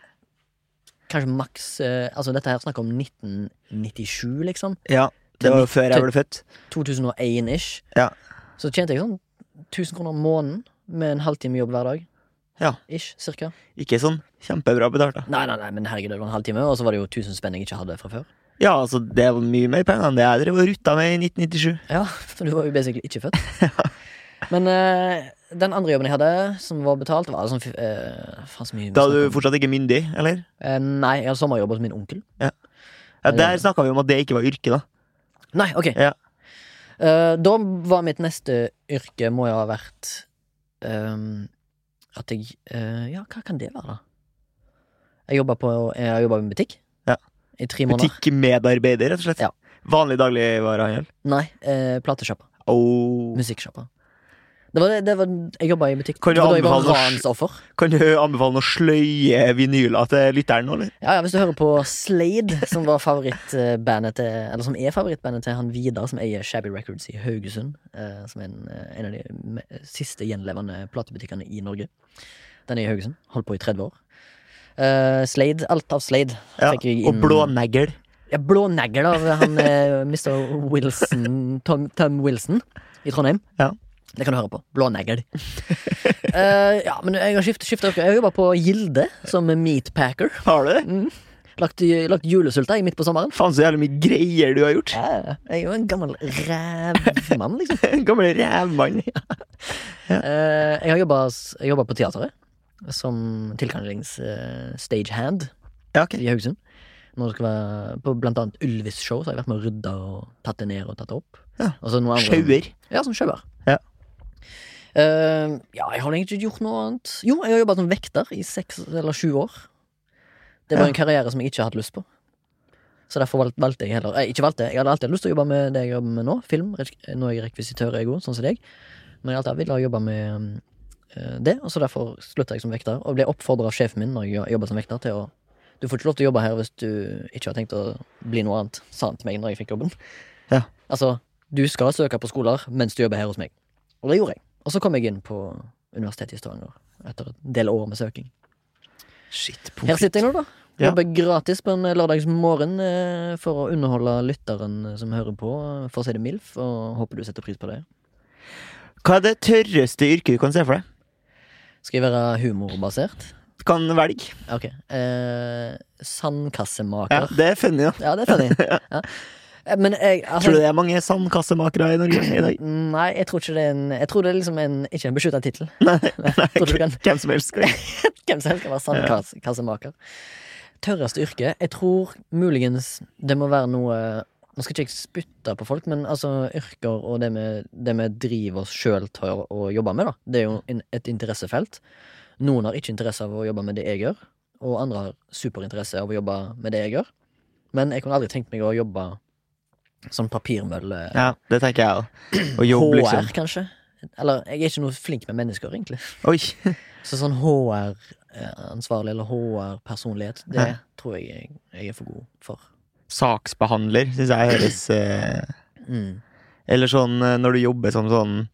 [SPEAKER 1] kanskje maks øh, Altså, dette her snakker om 1997, liksom.
[SPEAKER 2] Ja, det var jo før jeg ble født.
[SPEAKER 1] 2001-ish.
[SPEAKER 2] Ja.
[SPEAKER 1] Så tjente jeg sånn 1000 kroner om måneden med en halvtime jobb hver dag.
[SPEAKER 2] Ja.
[SPEAKER 1] Ish, cirka.
[SPEAKER 2] Ikke sånn kjempebra betalt, da.
[SPEAKER 1] Nei, nei, nei, men herregud, det var en halvtime, og så var det jo 1000 spenn jeg ikke hadde fra før.
[SPEAKER 2] Ja, altså, det er mye mer penger enn det jeg drev og rutta med i 1997.
[SPEAKER 1] Ja, for du var jo basically ikke født. Men eh, den andre jobben jeg hadde, som var betalt, var sånn fi- eh, faen så mye vi
[SPEAKER 2] Da er
[SPEAKER 1] snakker
[SPEAKER 2] du
[SPEAKER 1] om.
[SPEAKER 2] fortsatt ikke myndig, eller?
[SPEAKER 1] Eh, Nei, jeg hadde sommerjobb hos min onkel.
[SPEAKER 2] Ja, der snakka vi om at det ikke var yrke, da.
[SPEAKER 1] Nei, ok.
[SPEAKER 2] Ja.
[SPEAKER 1] Eh, da var mitt neste yrke må jo ha vært ehm, at jeg eh, Ja, hva kan det være, da? Jeg jobba på Jeg har jobba i en butikk
[SPEAKER 2] Ja.
[SPEAKER 1] i tre måneder.
[SPEAKER 2] Butikkmedarbeider, rett og slett.
[SPEAKER 1] Ja.
[SPEAKER 2] Vanlig dagligvarehandel.
[SPEAKER 1] Nei, uh, platesjappa.
[SPEAKER 2] Oh.
[SPEAKER 1] Musikksjappa. Det var det, det var, jeg jobba i butikk.
[SPEAKER 2] Kan du
[SPEAKER 1] det var da jeg var
[SPEAKER 2] anbefale norsk-
[SPEAKER 1] ransoffer.
[SPEAKER 2] Kan du anbefale noen sløye vinyler til lytteren nå, eller?
[SPEAKER 1] Ja, ja, hvis du hører på Slade, som var favorittbandet til Eller som er favorittbandet til han Vidar, som eier Shabby Records i Haugesund. Eh, som er en, eh, en av de me- siste gjenlevende platebutikkene i Norge. Den er i Haugesund. Holdt på i 30 år. Eh, Slade. Alt av Slade.
[SPEAKER 2] Ja.
[SPEAKER 1] fikk jeg
[SPEAKER 2] Og
[SPEAKER 1] inn-
[SPEAKER 2] blånegl.
[SPEAKER 1] Ja, Blånegl av han eh, Mr. Wilson Tom, Tom Wilson i Trondheim.
[SPEAKER 2] Ja.
[SPEAKER 1] Det kan du høre på. Blånegl. Eh, ja, men jeg har skiftet skiftet yrke. Jeg jobba på Gilde som meatpacker.
[SPEAKER 2] Har du det?
[SPEAKER 1] Mm. Lagt, lagt julesulta i midt på sommeren.
[SPEAKER 2] Faen så jævlig mye greier du har gjort.
[SPEAKER 1] Ja, ja. jeg er jo en gammel rævmann, liksom.
[SPEAKER 2] Gamle rævmann.
[SPEAKER 1] Eh, jeg har jobba på teateret som tilkallings eh, stagehand
[SPEAKER 2] Ja, ok.
[SPEAKER 1] i Haugesund. Når det skal være på blant annet Ylvis show, så har jeg vært med å rydde og tatt det ned og tatt det opp.
[SPEAKER 2] Ja.
[SPEAKER 1] Og så noe andre-
[SPEAKER 2] Sjauer.
[SPEAKER 1] Ja, som sjauer.
[SPEAKER 2] Ja.
[SPEAKER 1] Eh, ja, jeg har egentlig ikke gjort noe annet. Jo, jeg har jobba som vekter i seks eller sju år. Det var
[SPEAKER 2] Ja.
[SPEAKER 1] en karriere som jeg ikke hadde lyst på. Så derfor valg- valgte jeg heller eh, Ikke valgte, jeg hadde alltid lyst til å jobbe med det jeg jobber med nå. Film. rek- Nå er jeg rekvisitør, jeg òg, sånn som deg. Men jeg har alltid ville jobbe med eh, det, og så derfor slutta jeg som vekter. Og ble oppfordra av sjefen min når jeg jobba som vekter, til å Du får ikke lov til å jobbe her hvis du ikke har tenkt å bli noe annet, sa han til meg når jeg fikk jobben.
[SPEAKER 2] Ja.
[SPEAKER 1] Altså, du skal søke på skoler mens du jobber her hos meg. Og det gjorde jeg. Og så kom jeg inn på Universitetet i Stavanger etter en del år med søking.
[SPEAKER 2] Shit,
[SPEAKER 1] Her sitter jeg nå, da.
[SPEAKER 2] Ja.
[SPEAKER 1] Jobber gratis på en lørdagsmorgen eh, for å underholde lytteren som hører på, eh, for å si det MILF, og håper du setter pris på det.
[SPEAKER 2] Hva er det tørreste yrket du kan se for deg?
[SPEAKER 1] Skal jeg være humorbasert?
[SPEAKER 2] Du kan velge.
[SPEAKER 1] Ok. Eh,
[SPEAKER 2] Ja,
[SPEAKER 1] sandkassemaker. Ja.
[SPEAKER 2] det er funny, da.
[SPEAKER 1] det er funny. ja. Eh, Men jeg altså,
[SPEAKER 2] Tror du det er mange sandkassemakere i Norge i dag?
[SPEAKER 1] Nei, jeg tror ikke det er en Jeg tror det er liksom en, ikke en beskytta tittel.
[SPEAKER 2] Nei,
[SPEAKER 1] Tror du du kan-
[SPEAKER 2] Hvem som helst. kan-
[SPEAKER 1] Hvem som helst kan være sandkassemaker. Tørreste yrke? Jeg tror muligens det må være noe Nå skal ikke jeg spytte på folk, men altså yrker og det vi, det vi driver oss sjøl til å, å jobbe med, da. Det er jo en, et interessefelt. Noen har ikke interesse av å jobbe med det jeg gjør, og andre har superinteresse av å jobbe med det jeg gjør. Men jeg kunne aldri tenkt meg å jobbe som papirmølle.
[SPEAKER 2] Ja, det tenker jeg òg. Å jobbe,
[SPEAKER 1] HR,
[SPEAKER 2] liksom.
[SPEAKER 1] kanskje. Eller jeg er ikke noe flink med mennesker, egentlig.
[SPEAKER 2] Oi.
[SPEAKER 1] Så sånn HR-ansvarlig eller HR-personlighet, det
[SPEAKER 2] Ja.
[SPEAKER 1] tror jeg jeg- jeg er for god for.
[SPEAKER 2] Saksbehandler syns jeg høres eh,
[SPEAKER 1] Mm.
[SPEAKER 2] Eller sånn eh, når du jobber som sånn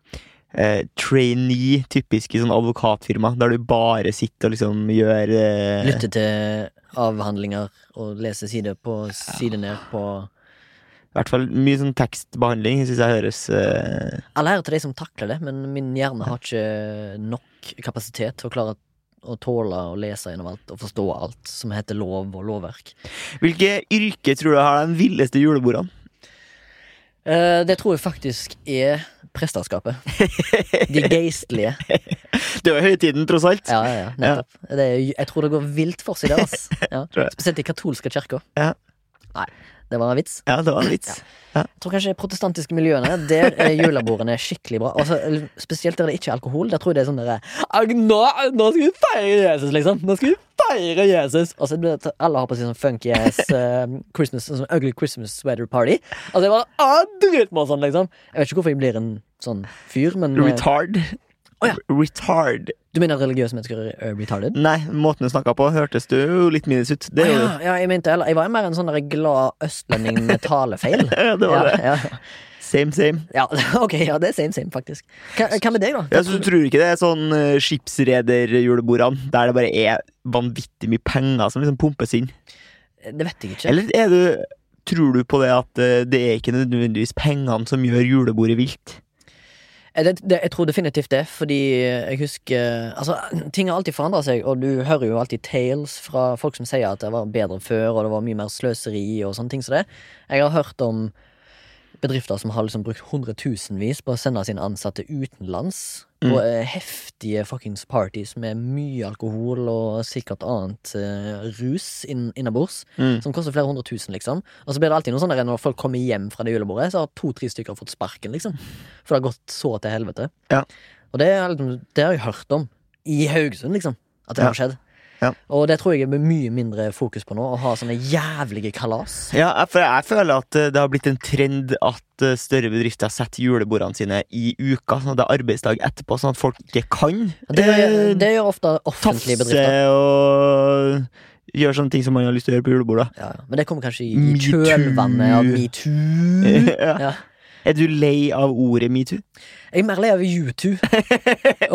[SPEAKER 2] eh, trainee, typisk i sånn advokatfirma, der du bare sitter og liksom gjør eh,
[SPEAKER 1] Lytte til avhandlinger og lese side på side ned på
[SPEAKER 2] I hvert fall mye sånn tekstbehandling syns jeg høres eh,
[SPEAKER 1] All ære til de som takler det, men min hjerne har ikke nok kapasitet til å klare å tåle å lese gjennom alt og forstå alt som heter lov og lovverk.
[SPEAKER 2] Hvilke yrke tror du har de villeste julebordene?
[SPEAKER 1] Eh, Det tror jeg faktisk er presteskapet. De geistlige.
[SPEAKER 2] Det var høytiden, tross alt.
[SPEAKER 1] Ja, ja, ja, nettopp. Det er, jeg tror det går vilt for seg der, ass. Ja.
[SPEAKER 2] Tror jeg.
[SPEAKER 1] Spesielt i katolske kirker.
[SPEAKER 2] Ja.
[SPEAKER 1] Nei, det var en vits.
[SPEAKER 2] Ja, det var en vits.
[SPEAKER 1] Jeg tror kanskje de protestantiske miljøene, der er julebordene skikkelig bra. Altså, eller spesielt der det ikke er alkohol. Der tror jeg det er sånn derre «Ag, nå, nå skal vi feire Jesus, liksom! Nå skal vi feire Jesus! Og så blir det alle har på seg sånn funky ass eh, Christmas, sånn ugly Christmas sweater party. Altså, det var ah, dritmorsomt, liksom. Jeg vet ikke hvorfor jeg blir en sånn fyr, men eh,
[SPEAKER 2] Retard.
[SPEAKER 1] Å, ja.
[SPEAKER 2] Retard.
[SPEAKER 1] Du mener religiøse mennesker er eh, retarded?
[SPEAKER 2] Nei, måten du snakka på, hørtes du jo litt minus ut. Det
[SPEAKER 1] Ah,
[SPEAKER 2] gjorde
[SPEAKER 1] ja, ja, jeg mente heller Jeg var jo mer en sånn der glad østlending med talefeil.
[SPEAKER 2] du. Ja, det var det.
[SPEAKER 1] ja,
[SPEAKER 2] Same, same.
[SPEAKER 1] ja, ja, ok, ja, det er same same, faktisk. Hva, hva med deg, da?
[SPEAKER 2] Ja, så du tror ikke det er sånn uh, skipsrederjulebordene der det bare er vanvittig mye penger som liksom pumpes inn?
[SPEAKER 1] Det vet jeg ikke.
[SPEAKER 2] Eller er du Tror du på det at eh, det er ikke nødvendigvis pengene som gjør julebordet vilt?
[SPEAKER 1] Eh, Det, det, jeg tror definitivt det, fordi jeg husker Altså, ting har alltid forandra seg, og du hører jo alltid tales fra folk som sier at det var bedre før, og det var mye mer sløseri og sånne ting som det. Jeg har hørt om bedrifter som har liksom brukt hundretusenvis på å sende sine ansatte utenlands. På eh, heftige fuckings parties med mye alkohol og sikkert annet eh, rus inn- innabords.
[SPEAKER 2] Mm.
[SPEAKER 1] Som koster flere hundre tusen, liksom. Og så blir det alltid noe sånn der når folk kommer hjem fra det julebordet, så har to-tre stykker fått sparken, liksom. For det har gått så til helvete.
[SPEAKER 2] Ja.
[SPEAKER 1] Og det, er liksom, det har jeg hørt om i Haugesund, liksom. At det
[SPEAKER 2] Ja.
[SPEAKER 1] har skjedd.
[SPEAKER 2] Ja.
[SPEAKER 1] Og det tror jeg er mye mindre fokus på nå, å ha sånne jævlige kalas.
[SPEAKER 2] Ja, jeg- for jeg føler at eh, det har blitt en trend at eh, større bedrifter setter julebordene sine i uka, sånn at det er arbeidsdag etterpå, sånn at folk ikke kan
[SPEAKER 1] Det,
[SPEAKER 2] eh,
[SPEAKER 1] det gjør ofte offentlige
[SPEAKER 2] tafse
[SPEAKER 1] bedrifter.
[SPEAKER 2] og gjøre sånne ting som man har lyst til å gjøre på julebordet.
[SPEAKER 1] Ja, ja. men det kommer kanskje i i
[SPEAKER 2] Metoo.
[SPEAKER 1] kjølvannet av metoo.
[SPEAKER 2] Ja.
[SPEAKER 1] Mm. Ja.
[SPEAKER 2] Er du lei av ordet metoo?
[SPEAKER 1] Jeg er mer lei av U2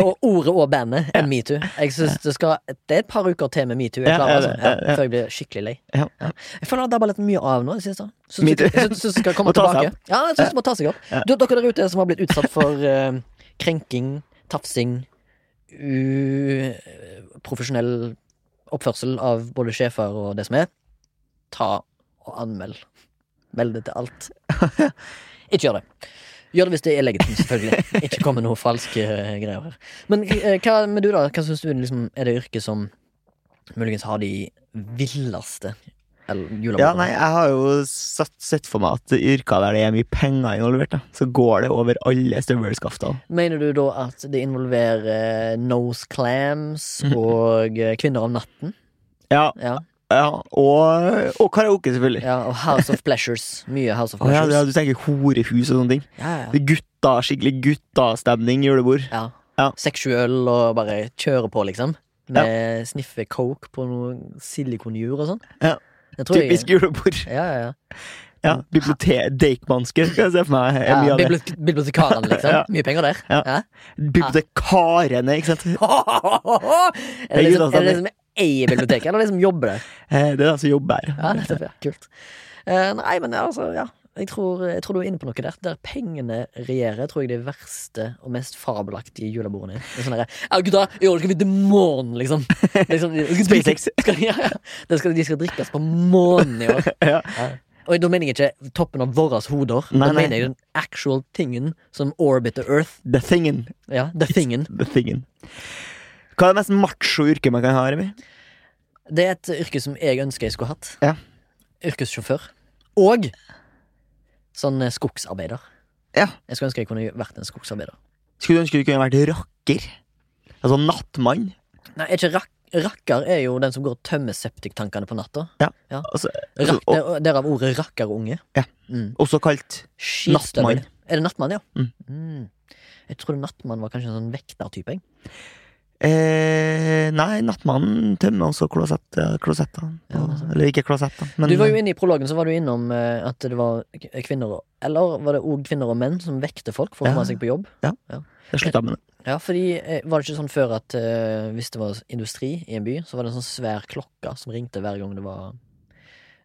[SPEAKER 1] og ordet og bandet enn metoo. Jeg synes det, skal, det er et par uker til med metoo. Jeg
[SPEAKER 2] Ja,
[SPEAKER 1] klarer,
[SPEAKER 2] ja,
[SPEAKER 1] altså. ja,
[SPEAKER 2] ja, ja.
[SPEAKER 1] før jeg blir skikkelig lei.
[SPEAKER 2] Ja.
[SPEAKER 1] Ja. Jeg føler det dabba litt mye av nå. Jeg synes, synes,
[SPEAKER 2] Metoo.
[SPEAKER 1] jeg synes det skal komme
[SPEAKER 2] Må ta seg
[SPEAKER 1] tilbake. Ja, jeg synes det må ta seg opp.
[SPEAKER 2] Ja.
[SPEAKER 1] Du, dere der ute som har blitt utsatt for eh, krenking, tafsing, uprofesjonell oppførsel av både sjefer og det som er, ta og anmeld. Meld det til alt. Ikke gjør det. Gjør det hvis det er legitimt, selvfølgelig. Ikke kom med noe falske eh, greier her. Men eh, hva med du, da? Hva syns du liksom, er det yrket som muligens har de villeste el- julebordene?
[SPEAKER 2] Ja, nei, jeg har jo sett, sett for meg at yrker der det er mye penger involvert, da, så går det over alle støvelskaftene.
[SPEAKER 1] Mener du da at det involverer eh, nose clams og eh, kvinner om natten?
[SPEAKER 2] Ja,
[SPEAKER 1] Ja,
[SPEAKER 2] ja, og, og karaoke, selvfølgelig.
[SPEAKER 1] ja Og House of Pleasures. Mye House of
[SPEAKER 2] Å, Ja, ja,
[SPEAKER 1] Pleasures.
[SPEAKER 2] du tenker horehus og sånne ting.
[SPEAKER 1] Ja, ja.
[SPEAKER 2] Gutta, skikkelig guttastemning, julebord.
[SPEAKER 1] ja.
[SPEAKER 2] Ja.
[SPEAKER 1] Seksuell og bare kjøre på, liksom. Med sniffe coke på noe silikonjur og sånn.
[SPEAKER 2] Ja.
[SPEAKER 1] Det tror
[SPEAKER 2] Typisk julebord.
[SPEAKER 1] Jeg, ja, ja, ja.
[SPEAKER 2] Ja, bibliotek, Deichmanske, skal jeg se for meg. er mye
[SPEAKER 1] ja
[SPEAKER 2] av det.
[SPEAKER 1] bibliotek- Bibliotekarene, liksom.
[SPEAKER 2] Ja.
[SPEAKER 1] Mye penger der.
[SPEAKER 2] Ja. Bibliotekarene, ikke sant.
[SPEAKER 1] er det
[SPEAKER 2] Det er
[SPEAKER 1] de som-
[SPEAKER 2] julaften.
[SPEAKER 1] er det de som eier biblioteket, eller de som jobber der?
[SPEAKER 2] Eh, Det er de som jobber her.
[SPEAKER 1] Ja, nettopp, ja. Kult. Eh, nei, men altså, ja. Jeg tror, jeg tror du er inne på noe der. Der pengene regjerer, tror jeg det verste og mest fabelaktige julebordene er. Det er Sånn derre Ja, gutta, i år skal vi til månen, liksom. liksom de- de-
[SPEAKER 2] SpaceX.
[SPEAKER 1] Skal, ja, ja. Det skal, de skal drikkes på månen i år.
[SPEAKER 2] Ja.
[SPEAKER 1] Og da mener jeg ikke toppen av våre hoder.
[SPEAKER 2] Nei,
[SPEAKER 1] da
[SPEAKER 2] nei.
[SPEAKER 1] mener jeg den actual tingen som orbit the earth.
[SPEAKER 2] The thingen.
[SPEAKER 1] Ja, the thingen.
[SPEAKER 2] The thingen. Hva er det mest macho yrket man kan ha, Remi?
[SPEAKER 1] Det er et yrke som jeg ønsker jeg skulle hatt.
[SPEAKER 2] Ja.
[SPEAKER 1] Yrkessjåfør. Og sånn eh, skogsarbeider.
[SPEAKER 2] Ja.
[SPEAKER 1] Jeg skulle ønske jeg kunne vært en skogsarbeider.
[SPEAKER 2] Skulle du ønske du kunne vært rakker? Altså nattmann?
[SPEAKER 1] Nei, er ikke rak Rakker er jo den som går og tømmer septiktankene på natta.
[SPEAKER 2] Altså, altså,
[SPEAKER 1] Rak der, derav ordet rakkerunge.
[SPEAKER 2] Ja.
[SPEAKER 1] Mm.
[SPEAKER 2] og- også kalt
[SPEAKER 1] Skitstøvel.
[SPEAKER 2] Nattmann.
[SPEAKER 1] Er det nattmann, ja?
[SPEAKER 2] Mm.
[SPEAKER 1] Mm. Jeg trodde nattmann var kanskje en sånn vektertype. jeg.
[SPEAKER 2] eh, Nei, nattmannen tømmer også klosett- klosettene.
[SPEAKER 1] Ja, altså.
[SPEAKER 2] Eller ikke klosettene, men
[SPEAKER 1] Du var jo inne i prologen så var du innom eh, at det var k- kvinner og Eller var det òg kvinner og menn som vekte folk for å
[SPEAKER 2] Ja.
[SPEAKER 1] komme seg på jobb?
[SPEAKER 2] jeg slutta med det.
[SPEAKER 1] Ja, fordi eh, Var det ikke sånn før at eh, hvis det var industri i en by, så var det en sånn svær klokke som ringte hver gang det var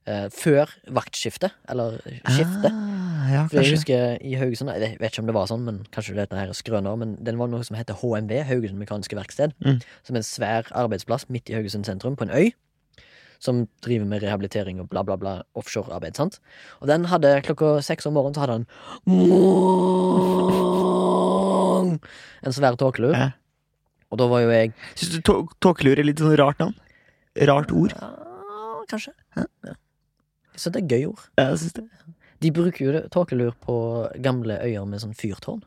[SPEAKER 1] eh, Før vaktskiftet, eller skiftet.
[SPEAKER 2] Ah, ja,
[SPEAKER 1] For jeg
[SPEAKER 2] kanskje.
[SPEAKER 1] husker i Haugesund Jeg vet ikke om det var sånn, men kanskje dette her er skrøner. Men den var noe som heter HMV, Haugesund Mekaniske Verksted.
[SPEAKER 2] Mm.
[SPEAKER 1] Som er en svær arbeidsplass midt i Haugesund sentrum, på en øy. Som driver med rehabilitering og bla, bla, bla. Offshorearbeid, sant. Og den hadde klokka seks om morgenen, så hadde han En svær tåkelur.
[SPEAKER 2] Ja.
[SPEAKER 1] Og da var jo jeg
[SPEAKER 2] Syns du tå- tåkelur er litt sånn rart navn? Rart ord?
[SPEAKER 1] ja, Kanskje. Ja. Så det er gøy ord.
[SPEAKER 2] Ja, Jeg synes det.
[SPEAKER 1] De bruker jo det- tåkelur på gamle øyer med sånn fyrtårn.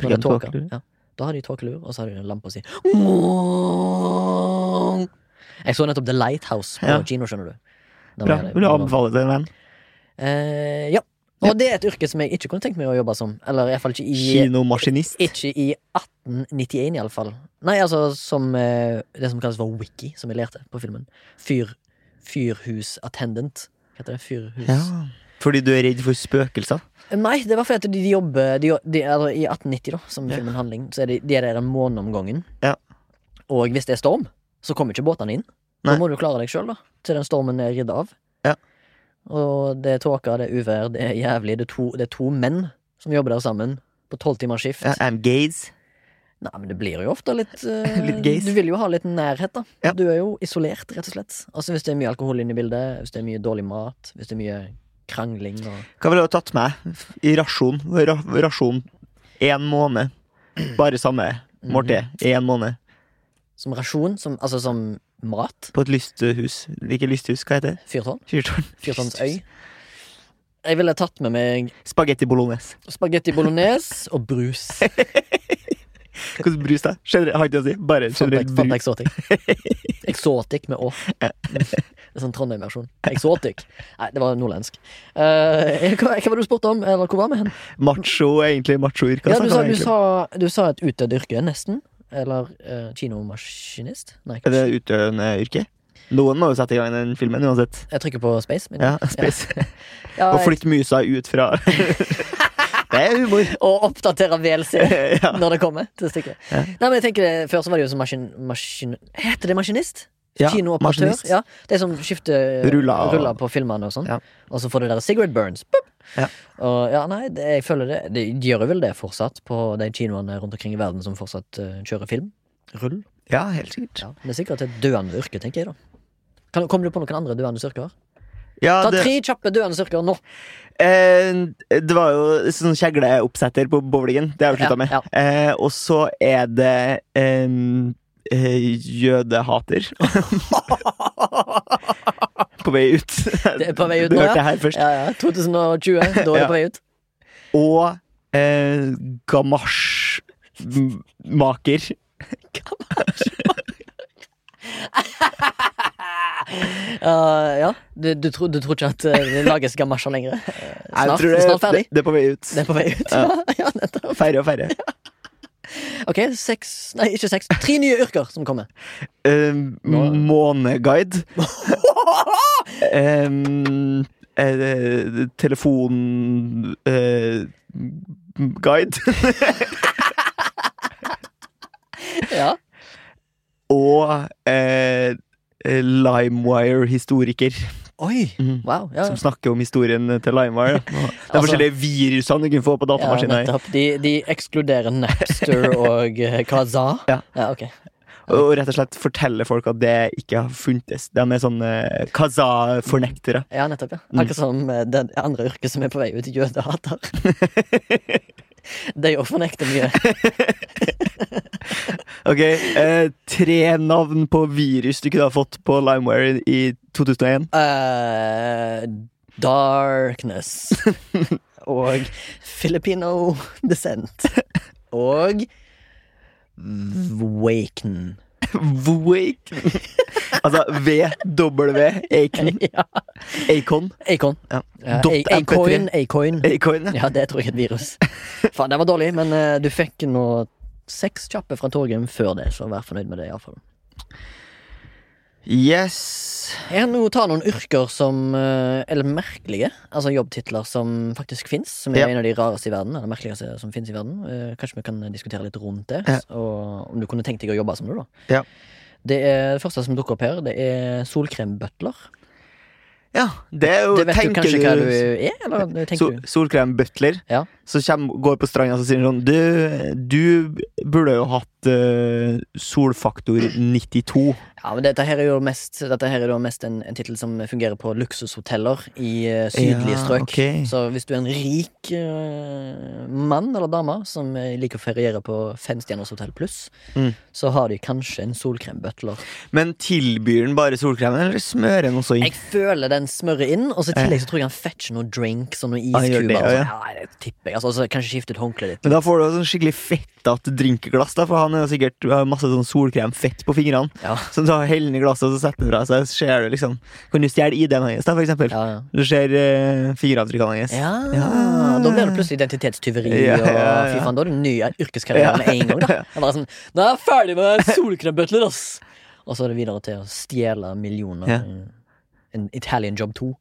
[SPEAKER 1] Når det
[SPEAKER 2] Bruker de
[SPEAKER 1] tåker.
[SPEAKER 2] tåkelur?
[SPEAKER 1] Ja. Da har de tåkelur, og så har de den lampa si. Jeg så nettopp The Lighthouse på
[SPEAKER 2] Ja.
[SPEAKER 1] kino, skjønner du. Da
[SPEAKER 2] Bra.
[SPEAKER 1] var jeg-
[SPEAKER 2] Vil du anbefale det til en venn?
[SPEAKER 1] Eh, ja. Og det er et yrke som jeg ikke kunne tenkt meg å jobbe som. Eller iallfall ikke i
[SPEAKER 2] Kinomaskinist?
[SPEAKER 1] ikke i 1891, iallfall. Nei, altså som eh, det som kalles for wiki, som jeg lærte på filmen. Fyr, fyrhusattendant. Hva heter det? Fyrhus...
[SPEAKER 2] Ja. Fordi du er redd for spøkelser?
[SPEAKER 1] Nei, det var fordi at de jobber de, jo- de, eller, I 1890, da, som
[SPEAKER 2] Ja.
[SPEAKER 1] filmen handling, så er de, de er der en måned om gangen.
[SPEAKER 2] Ja.
[SPEAKER 1] Og hvis det er storm, så kommer ikke båtene inn. Da
[SPEAKER 2] Nei.
[SPEAKER 1] må du klare deg sjøl, da. Til den stormen er ridd av.
[SPEAKER 2] Ja.
[SPEAKER 1] Og det er tåke, det er uvær, det er jævlig. Det er to, det er to menn som jobber der sammen på tolvtimersskift.
[SPEAKER 2] Ja, I'm gays.
[SPEAKER 1] Nei, men det blir jo ofte litt eh,
[SPEAKER 2] Litt gays.
[SPEAKER 1] Du vil jo ha litt nærhet, da.
[SPEAKER 2] Ja.
[SPEAKER 1] Du er jo isolert, rett og slett. Altså Hvis det er mye alkohol inne i bildet, hvis det er mye dårlig mat, hvis det er mye krangling og
[SPEAKER 2] Hva ville du ha tatt med i rasjon? Ra rasjon én måned. Bare samme måltid.
[SPEAKER 1] Mhm.
[SPEAKER 2] Én måned.
[SPEAKER 1] Som rasjon, som, altså som mat.
[SPEAKER 2] På et lysthus. Ikke lysthus, hva heter det?
[SPEAKER 1] Fyrtårn.
[SPEAKER 2] Fyrtårn.
[SPEAKER 1] Fyrtårnsøy. Jeg ville tatt med meg
[SPEAKER 2] Spagetti bolognese.
[SPEAKER 1] spagetti bolognese og brus.
[SPEAKER 2] Hvordan brus, da? Generelt, har ikke det å si. Bare generelt
[SPEAKER 1] Fanta
[SPEAKER 2] brus.
[SPEAKER 1] Exotic. Exotic med Å. Det er Sånn Trondheim-versjon. Exotic. Nei, det var nordlandsk. Eh, hva, hva var det du spurte om? Eller hvor var vi hen?
[SPEAKER 2] Macho, egentlig. Machoyrka.
[SPEAKER 1] Ja, du sa, du,
[SPEAKER 2] snakker vi egentlig om.
[SPEAKER 1] sa, du sa et utdødd yrke, nesten. Eller eh, kinomaskinist. Nei,
[SPEAKER 2] Er det utøvende yrke? Noen må jo sette i gang den filmen uansett.
[SPEAKER 1] jeg trykker på space. men-
[SPEAKER 2] Ja, space.
[SPEAKER 1] Ja,
[SPEAKER 2] Og
[SPEAKER 1] jeg-
[SPEAKER 2] flytte musa ut fra Det er humor.
[SPEAKER 1] og oppdatere VLC
[SPEAKER 2] ja.
[SPEAKER 1] når det kommer til stykket.
[SPEAKER 2] Ja.
[SPEAKER 1] Nei, men jeg tenker det, Før så var det jo som maskin... maskin heter det maskinist?
[SPEAKER 2] Ja,
[SPEAKER 1] Kinooperatør.
[SPEAKER 2] maskinist.
[SPEAKER 1] Ja, de som skifter
[SPEAKER 2] Ruller og-
[SPEAKER 1] ruller på filmene og sånn.
[SPEAKER 2] Ja.
[SPEAKER 1] Og så får det der cigarette burns. Boop.
[SPEAKER 2] Ja.
[SPEAKER 1] Og ja, nei, det, jeg føler det De gjør vel det fortsatt på de kinoene rundt omkring i verden som fortsatt eh, kjører film. Rull.
[SPEAKER 2] ja, helt sikkert.
[SPEAKER 1] Ja, men det er sikkert et døende yrke, tenker jeg da. Kan, kommer du på noen andre døende yrker?
[SPEAKER 2] Ja,
[SPEAKER 1] Ta
[SPEAKER 2] det,
[SPEAKER 1] tre kjappe døende yrker nå!
[SPEAKER 2] eh, det var jo sånn kjegleoppsetter på bowlingen. Det har jeg
[SPEAKER 1] Ja,
[SPEAKER 2] slutta med.
[SPEAKER 1] ja.
[SPEAKER 2] Eh, og så er det eh, eh, jødehater. på vei ut.
[SPEAKER 1] Det er på vei ut
[SPEAKER 2] du
[SPEAKER 1] nå,
[SPEAKER 2] hørte det her først.
[SPEAKER 1] Ja, ja, 2020, da er det
[SPEAKER 2] Ja.
[SPEAKER 1] på vei ut.
[SPEAKER 2] Og eh, gamasjmaker.
[SPEAKER 1] Eh, ja, du, du, tror, du tror ikke at eh, det lages gamasjer lenger? Eh,
[SPEAKER 2] Jeg
[SPEAKER 1] Snart,
[SPEAKER 2] tror det,
[SPEAKER 1] snart ferdig?
[SPEAKER 2] Det, det er på vei ut.
[SPEAKER 1] Det er på vei ut. Ja, ja, nettopp.
[SPEAKER 2] Færre og færre.
[SPEAKER 1] Ok, seks Nei, ikke seks. Tre nye yrker som kommer.
[SPEAKER 2] Eh,
[SPEAKER 1] Nå-
[SPEAKER 2] måneguide. Em, eh, telefon eh, Guide.
[SPEAKER 1] Ja.
[SPEAKER 2] Og eh, eh, LimeWire-historiker,
[SPEAKER 1] Oi!
[SPEAKER 2] Mhm.
[SPEAKER 1] Wow. Ja.
[SPEAKER 2] som snakker om historien til LimeWire. da. Det er
[SPEAKER 1] Altså-
[SPEAKER 2] forskjellige virusene du kan få på
[SPEAKER 1] Ja,
[SPEAKER 2] datamaskiner.
[SPEAKER 1] nettopp. De, de ekskluderer Napster og eh, Kazaa.
[SPEAKER 2] Ja.
[SPEAKER 1] ja, ok.
[SPEAKER 2] og rett og slett forteller folk at det ikke har funtes. De er sånn, eh, sånne kaza-fornektere.
[SPEAKER 1] Ja, nettopp, ja.
[SPEAKER 2] Mm.
[SPEAKER 1] Akkurat som eh, det andre yrket som er på vei ut, jødehater. De òg fornekter mye.
[SPEAKER 2] Ok, eh, Tre navn på virus du kunne ha fått på LimeWire i 2001.
[SPEAKER 1] Eh, darkness. Og Filipino descent. Og Waken.
[SPEAKER 2] Wake. altså V-W-Acon.
[SPEAKER 1] Ja.
[SPEAKER 2] Acon.
[SPEAKER 1] Acon.
[SPEAKER 2] Ja.
[SPEAKER 1] Ja,
[SPEAKER 2] Dot
[SPEAKER 1] A- Acoin. Acoin.
[SPEAKER 2] Acon, ja.
[SPEAKER 1] Ja, det tror jeg er et virus. Faen, den var dårlig, men eh, du fikk nå seks kjappe fra Torgrim før det, så vær fornøyd med det, iallfall.
[SPEAKER 2] Yes.
[SPEAKER 1] Jeg kan jo ta noen yrker som eh, Eller merkelige. Altså jobbtitler som faktisk fins. Som er
[SPEAKER 2] Ja.
[SPEAKER 1] en av de rareste i verden. Eller merkeligste som finnes i verden Eh, Kanskje vi kan diskutere litt rundt det.
[SPEAKER 2] Ja.
[SPEAKER 1] Og om du kunne tenkt deg å jobbe som det, da.
[SPEAKER 2] Ja.
[SPEAKER 1] Det, er, det første som dukker opp her, det er solkrembutler.
[SPEAKER 2] Ja, det er jo
[SPEAKER 1] Det vet du
[SPEAKER 2] tenker
[SPEAKER 1] kanskje hva du er? Eller det tenker
[SPEAKER 2] Sol,
[SPEAKER 1] du?
[SPEAKER 2] Solkrem-butler
[SPEAKER 1] Ja.
[SPEAKER 2] som kjem, går på stranda og sier han sånn Du, du burde jo hatt eh, solfaktor 92.
[SPEAKER 1] Ja, men Dette her er jo mest, dette her er jo mest en, en tittel som fungerer på luksushoteller i eh, sydlige
[SPEAKER 2] Ja,
[SPEAKER 1] strøk.
[SPEAKER 2] ok.
[SPEAKER 1] Så hvis du er en rik eh, mann eller dame som eh, liker å feriere på femstjerners hotell pluss,
[SPEAKER 2] Mm.
[SPEAKER 1] så har de kanskje en solkrembutler.
[SPEAKER 2] Men tilbyr den bare solkremen, eller smører den også inn?
[SPEAKER 1] Jeg føler den smører inn, og så i tillegg så tror jeg han fetcher noen drinks og noen
[SPEAKER 2] Han Eh. Ah, gjør det,
[SPEAKER 1] iskuber. og
[SPEAKER 2] ja.
[SPEAKER 1] sånn. Ja, det tipper jeg. Altså, altså, kanskje skifte ut håndkleet litt.
[SPEAKER 2] Men da får du jo sånn skikkelig fettete drinkglass, da, for han har sikkert har masse sånn solkremfett på fingrene.
[SPEAKER 1] Ja.
[SPEAKER 2] Så da heller han i glasset og så setter han fra seg, så ser du liksom Kan du stjele ID-en hans, da, for eksempel?
[SPEAKER 1] Ja, ja.
[SPEAKER 2] Du ser eh, fingeravtrykkene hans.
[SPEAKER 1] Ja,
[SPEAKER 2] Ja.
[SPEAKER 1] Da blir det plutselig identitetstyveri.
[SPEAKER 2] Ja, ja,
[SPEAKER 1] Og
[SPEAKER 2] ja.
[SPEAKER 1] fy faen, Da er det en ny yrkeskarriere med en gang. da Jeg bare sånn, Nå er jeg ferdig med solkrembutler, ass! Og så er det videre til å stjele millioner.
[SPEAKER 2] Ja.
[SPEAKER 1] En Italian Job 2.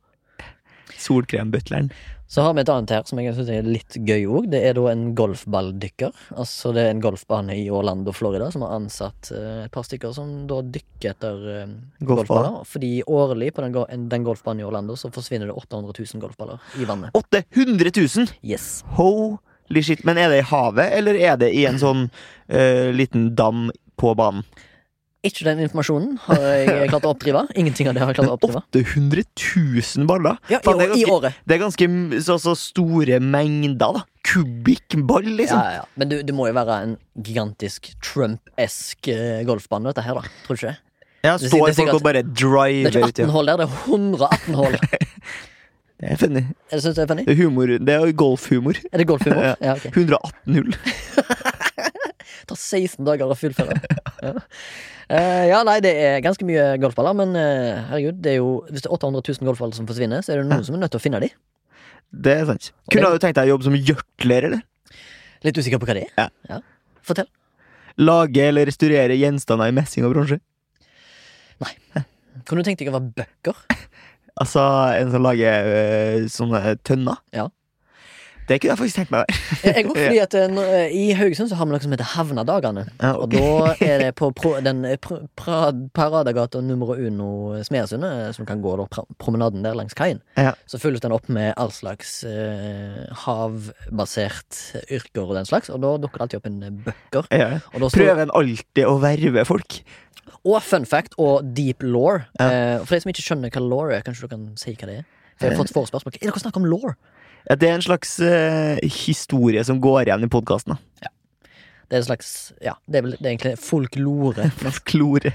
[SPEAKER 2] Solkrembutleren.
[SPEAKER 1] Så har vi et annet her som jeg synes er litt gøy òg. Det er da en golfballdykker. Altså det er en golfbane i Orlando, Florida, som har ansatt eh, et par stykker som da dykker etter eh,
[SPEAKER 2] Golfballer.
[SPEAKER 1] golfballer. Fordi årlig på den, go- en- den golfbanen i Orlando så forsvinner det 800 000 golfballer i vannet.
[SPEAKER 2] 800 000!
[SPEAKER 1] Yes.
[SPEAKER 2] Legit. Men er det i havet, eller er det i en sånn eh, liten dam på banen?
[SPEAKER 1] Ikke den informasjonen har jeg klart å oppdrive. Ingenting av det har jeg klart å oppdrive.
[SPEAKER 2] 800 000 baller!
[SPEAKER 1] Ja, i,
[SPEAKER 2] Faen, det er
[SPEAKER 1] år, I
[SPEAKER 2] ganske-
[SPEAKER 1] året.
[SPEAKER 2] Det er ganske m- så, så store mengder, da. Kubikkball, liksom.
[SPEAKER 1] Ja, ja, ja. Men du, det må jo være en gigantisk Trump-esk eh, golfbane, dette her, da. Tror du ikke det?
[SPEAKER 2] Ja,
[SPEAKER 1] Det er
[SPEAKER 2] står
[SPEAKER 1] sikkert-
[SPEAKER 2] folk og
[SPEAKER 1] Det
[SPEAKER 2] bare
[SPEAKER 1] er
[SPEAKER 2] driver
[SPEAKER 1] ikke
[SPEAKER 2] ut.
[SPEAKER 1] 18
[SPEAKER 2] Ja.
[SPEAKER 1] hull der, det er 118 hull.
[SPEAKER 2] Det er funny.
[SPEAKER 1] Er det, synes du det er funny?
[SPEAKER 2] Det er humor. Det er jo golfhumor.
[SPEAKER 1] Er det golfhumor?
[SPEAKER 2] Ja.
[SPEAKER 1] Ja, ok.
[SPEAKER 2] 118 hull.
[SPEAKER 1] Det tar 16 dager å fullføre. Ja. Eh, ja, nei, det er ganske mye golfballer, men eh, herregud, det er jo Hvis det er 800 000 golfballer som forsvinner, så er det noen som er nødt til å finne de.
[SPEAKER 2] Det er sant.
[SPEAKER 1] Og det-
[SPEAKER 2] Kunne du tenkt deg å jobbe som gjørtler, eller?
[SPEAKER 1] Litt usikker på hva det er.
[SPEAKER 2] Ja.
[SPEAKER 1] Fortell.
[SPEAKER 2] Lage eller restaurere gjenstander i messing og bronse?
[SPEAKER 1] Kunne du tenkt deg å være bøkker?
[SPEAKER 2] Altså en som lager øh, sånne tønner?
[SPEAKER 1] Ja.
[SPEAKER 2] Det kunne jeg faktisk tenkt meg å være.
[SPEAKER 1] Jeg går fordi at eh, nå, eh, I Haugesund så har vi noe som heter Havnadagene.
[SPEAKER 2] Ja,
[SPEAKER 1] Og
[SPEAKER 2] ok.
[SPEAKER 1] da er det på pro, den eh, pr, pra, Paradagata numero uno Smedesundet, eh, som kan gå da, pra, promenaden der langs kaien,
[SPEAKER 2] Ja.
[SPEAKER 1] så fylles den opp med all slags eh, havbasert yrker og den slags, og da dukker det alltid opp en eh, bøkker.
[SPEAKER 2] Ja.
[SPEAKER 1] Og da står,
[SPEAKER 2] Prøver en alltid å verve folk?
[SPEAKER 1] og fun fact og deep law.
[SPEAKER 2] Ja. Eh.
[SPEAKER 1] for de som ikke skjønner hva law er, kanskje du kan si hva det er? For jeg har fått forespørsmål. Er dere snakk om law?
[SPEAKER 2] Ja, det er en slags øh, historie som går igjen i podkasten.
[SPEAKER 1] Det er en slags, ja, det er vel det er egentlig folklore.
[SPEAKER 2] Klore.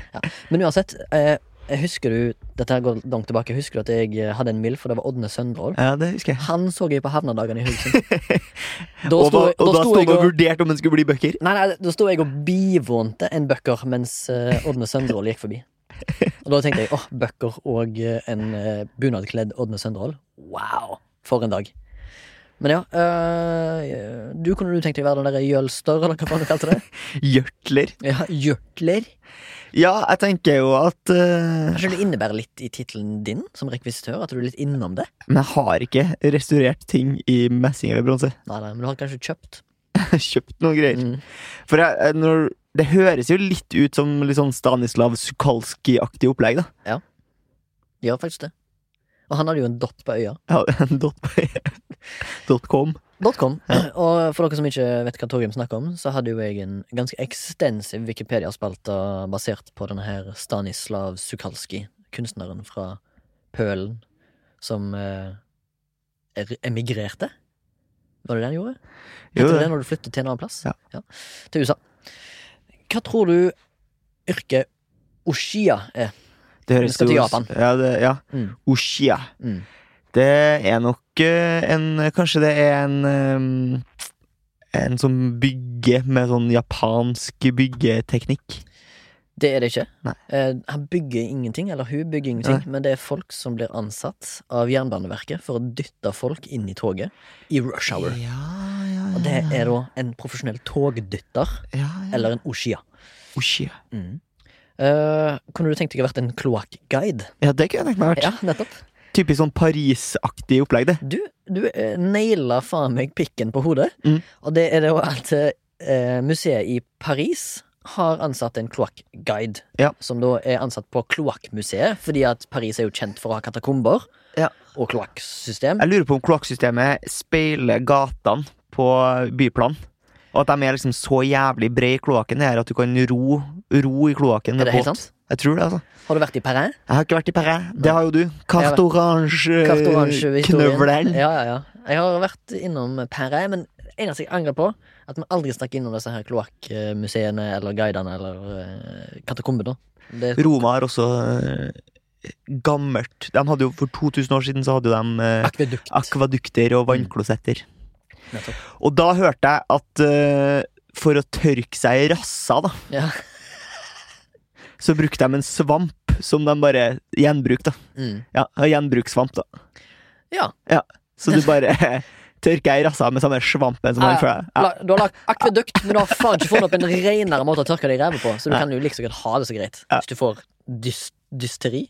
[SPEAKER 1] Men uansett, eh, jeg husker du Dette her går langt tilbake. Husker du at jeg eh, hadde en mild, for det var Ådne Søndrål?
[SPEAKER 2] Ja, det husker jeg.
[SPEAKER 1] Han så jeg på Havnadagene i Haugesund. Da
[SPEAKER 2] Og,
[SPEAKER 1] sto
[SPEAKER 2] da-
[SPEAKER 1] jeg-
[SPEAKER 2] og da
[SPEAKER 1] sto
[SPEAKER 2] sto
[SPEAKER 1] jeg
[SPEAKER 2] det og
[SPEAKER 1] og-
[SPEAKER 2] vurderte om den skulle bli bøker.
[SPEAKER 1] Nei, nei, da sto jeg og bivånte en bøkker mens eh, Ådne Søndrål gikk forbi. Og da tenkte jeg åh, bøkker og eh, en eh, bunadkledd Ådne Søndrål. Wow! For en dag. Men ja, eh, du kunne du tenkt deg å være den derre Jølster, eller hva faen du kalte det?
[SPEAKER 2] Gjørtler.
[SPEAKER 1] Ja, Jørtler.
[SPEAKER 2] Ja, jeg tenker jo at øh,
[SPEAKER 1] Kanskje det innebærer litt i tittelen din som rekvisitør? At du er litt innom det?
[SPEAKER 2] Men jeg har ikke restaurert ting i messing eller bronse.
[SPEAKER 1] Nei, nei, men du har kanskje kjøpt.
[SPEAKER 2] Jeg har Kjøpt noen greier.
[SPEAKER 1] Mm.
[SPEAKER 2] For jeg, jeg- når, det høres jo litt ut som litt sånn Stanislav Sukalski-aktig opplegg, da.
[SPEAKER 1] De gjør faktisk det. Og han hadde jo en dot på øya.
[SPEAKER 2] Ja, dot, dot com.
[SPEAKER 1] Dotcom. Og for dere som ikke vet hva Torgrim snakker om, så hadde jo jeg en ganske ekstensiv Wikipedia-spalte basert på denne her Stanislav Sukalski, kunstneren fra Pølen, som eh, er- emigrerte. Var det det han gjorde?
[SPEAKER 2] Jo,
[SPEAKER 1] Heter det
[SPEAKER 2] det.
[SPEAKER 1] det når du flytter til en annen plass?
[SPEAKER 2] Ja.
[SPEAKER 1] Til USA. Hva tror du yrket Oshia er?
[SPEAKER 2] Det
[SPEAKER 1] Vi skal til Japan.
[SPEAKER 2] Ja, det, ja.
[SPEAKER 1] Mm.
[SPEAKER 2] Oshia.
[SPEAKER 1] Mm.
[SPEAKER 2] Det er nok eh, en Kanskje det er en ehm, En som bygger med sånn japansk byggeteknikk.
[SPEAKER 1] Det er det ikke.
[SPEAKER 2] Nei.
[SPEAKER 1] Eh, han bygger ingenting, eller hun bygger ingenting, men det er folk som blir ansatt av Jernbaneverket for å dytte folk inn i toget i rush hour.
[SPEAKER 2] ja,
[SPEAKER 1] Og det er da en profesjonell togdytter,
[SPEAKER 2] ja, ja.
[SPEAKER 1] eller en oshia.
[SPEAKER 2] Oshia.
[SPEAKER 1] Mm. Eh, kunne du tenkt deg å vært en kloakkguide?
[SPEAKER 2] Ja, det kunne jeg tenkt meg vært.
[SPEAKER 1] Ja, nettopp.
[SPEAKER 2] Typisk sånn Paris-aktig opplegg, det.
[SPEAKER 1] Du, du eh, naila faen meg pikken på hodet,
[SPEAKER 2] Mm.
[SPEAKER 1] og det er det jo at eh, museet i Paris har ansatt en kloakkguide,
[SPEAKER 2] Ja.
[SPEAKER 1] som da er ansatt på kloakkmuseet, fordi at Paris er jo kjent for å ha katakomber
[SPEAKER 2] Ja.
[SPEAKER 1] og kloakksystem.
[SPEAKER 2] Jeg lurer på om kloakksystemet speiler gatene på byplan. Og at de er liksom så jævlig brede i kloakken her at du kan ro, ro i
[SPEAKER 1] Er
[SPEAKER 2] kloakken med
[SPEAKER 1] det helt
[SPEAKER 2] båt.
[SPEAKER 1] sant?
[SPEAKER 2] Jeg tror det, altså.
[SPEAKER 1] Har du vært i Paris?
[SPEAKER 2] Jeg har ikke vært i Paris. Det har jo du. Carte Eh,
[SPEAKER 1] Carte Orange-historien.
[SPEAKER 2] Orange-knøvleren.
[SPEAKER 1] Ja, ja, ja. Jeg har vært innom Paris, men eneste jeg angrer på, at vi aldri stakk innom disse her kloakkmuseene eller guidene eller eh, katakombene. Det er
[SPEAKER 2] Roma har også eh, gammelt De hadde jo For 2000 år siden så hadde de eh,
[SPEAKER 1] akvedukt.
[SPEAKER 2] akvadukter og vannklosetter.
[SPEAKER 1] Mm. Nettopp.
[SPEAKER 2] Og da hørte jeg at eh, for å tørke seg i rassa, da,
[SPEAKER 1] Ja.
[SPEAKER 2] så brukte de en svamp som de bare gjenbrukte. da.
[SPEAKER 1] Mm.
[SPEAKER 2] Ja, en gjenbrukssvamp, da.
[SPEAKER 1] Ja.
[SPEAKER 2] Så du bare tørker deg i rassa med samme svampen som
[SPEAKER 1] Ja,
[SPEAKER 2] han fra deg. Ja.
[SPEAKER 1] La- Du har lagd akvedukt, men du har faen ikke funnet opp en renere måte å tørke deg i ræva på, så du kan jo liksom godt ha det så greit
[SPEAKER 2] Ja.
[SPEAKER 1] hvis du får dys dysteri.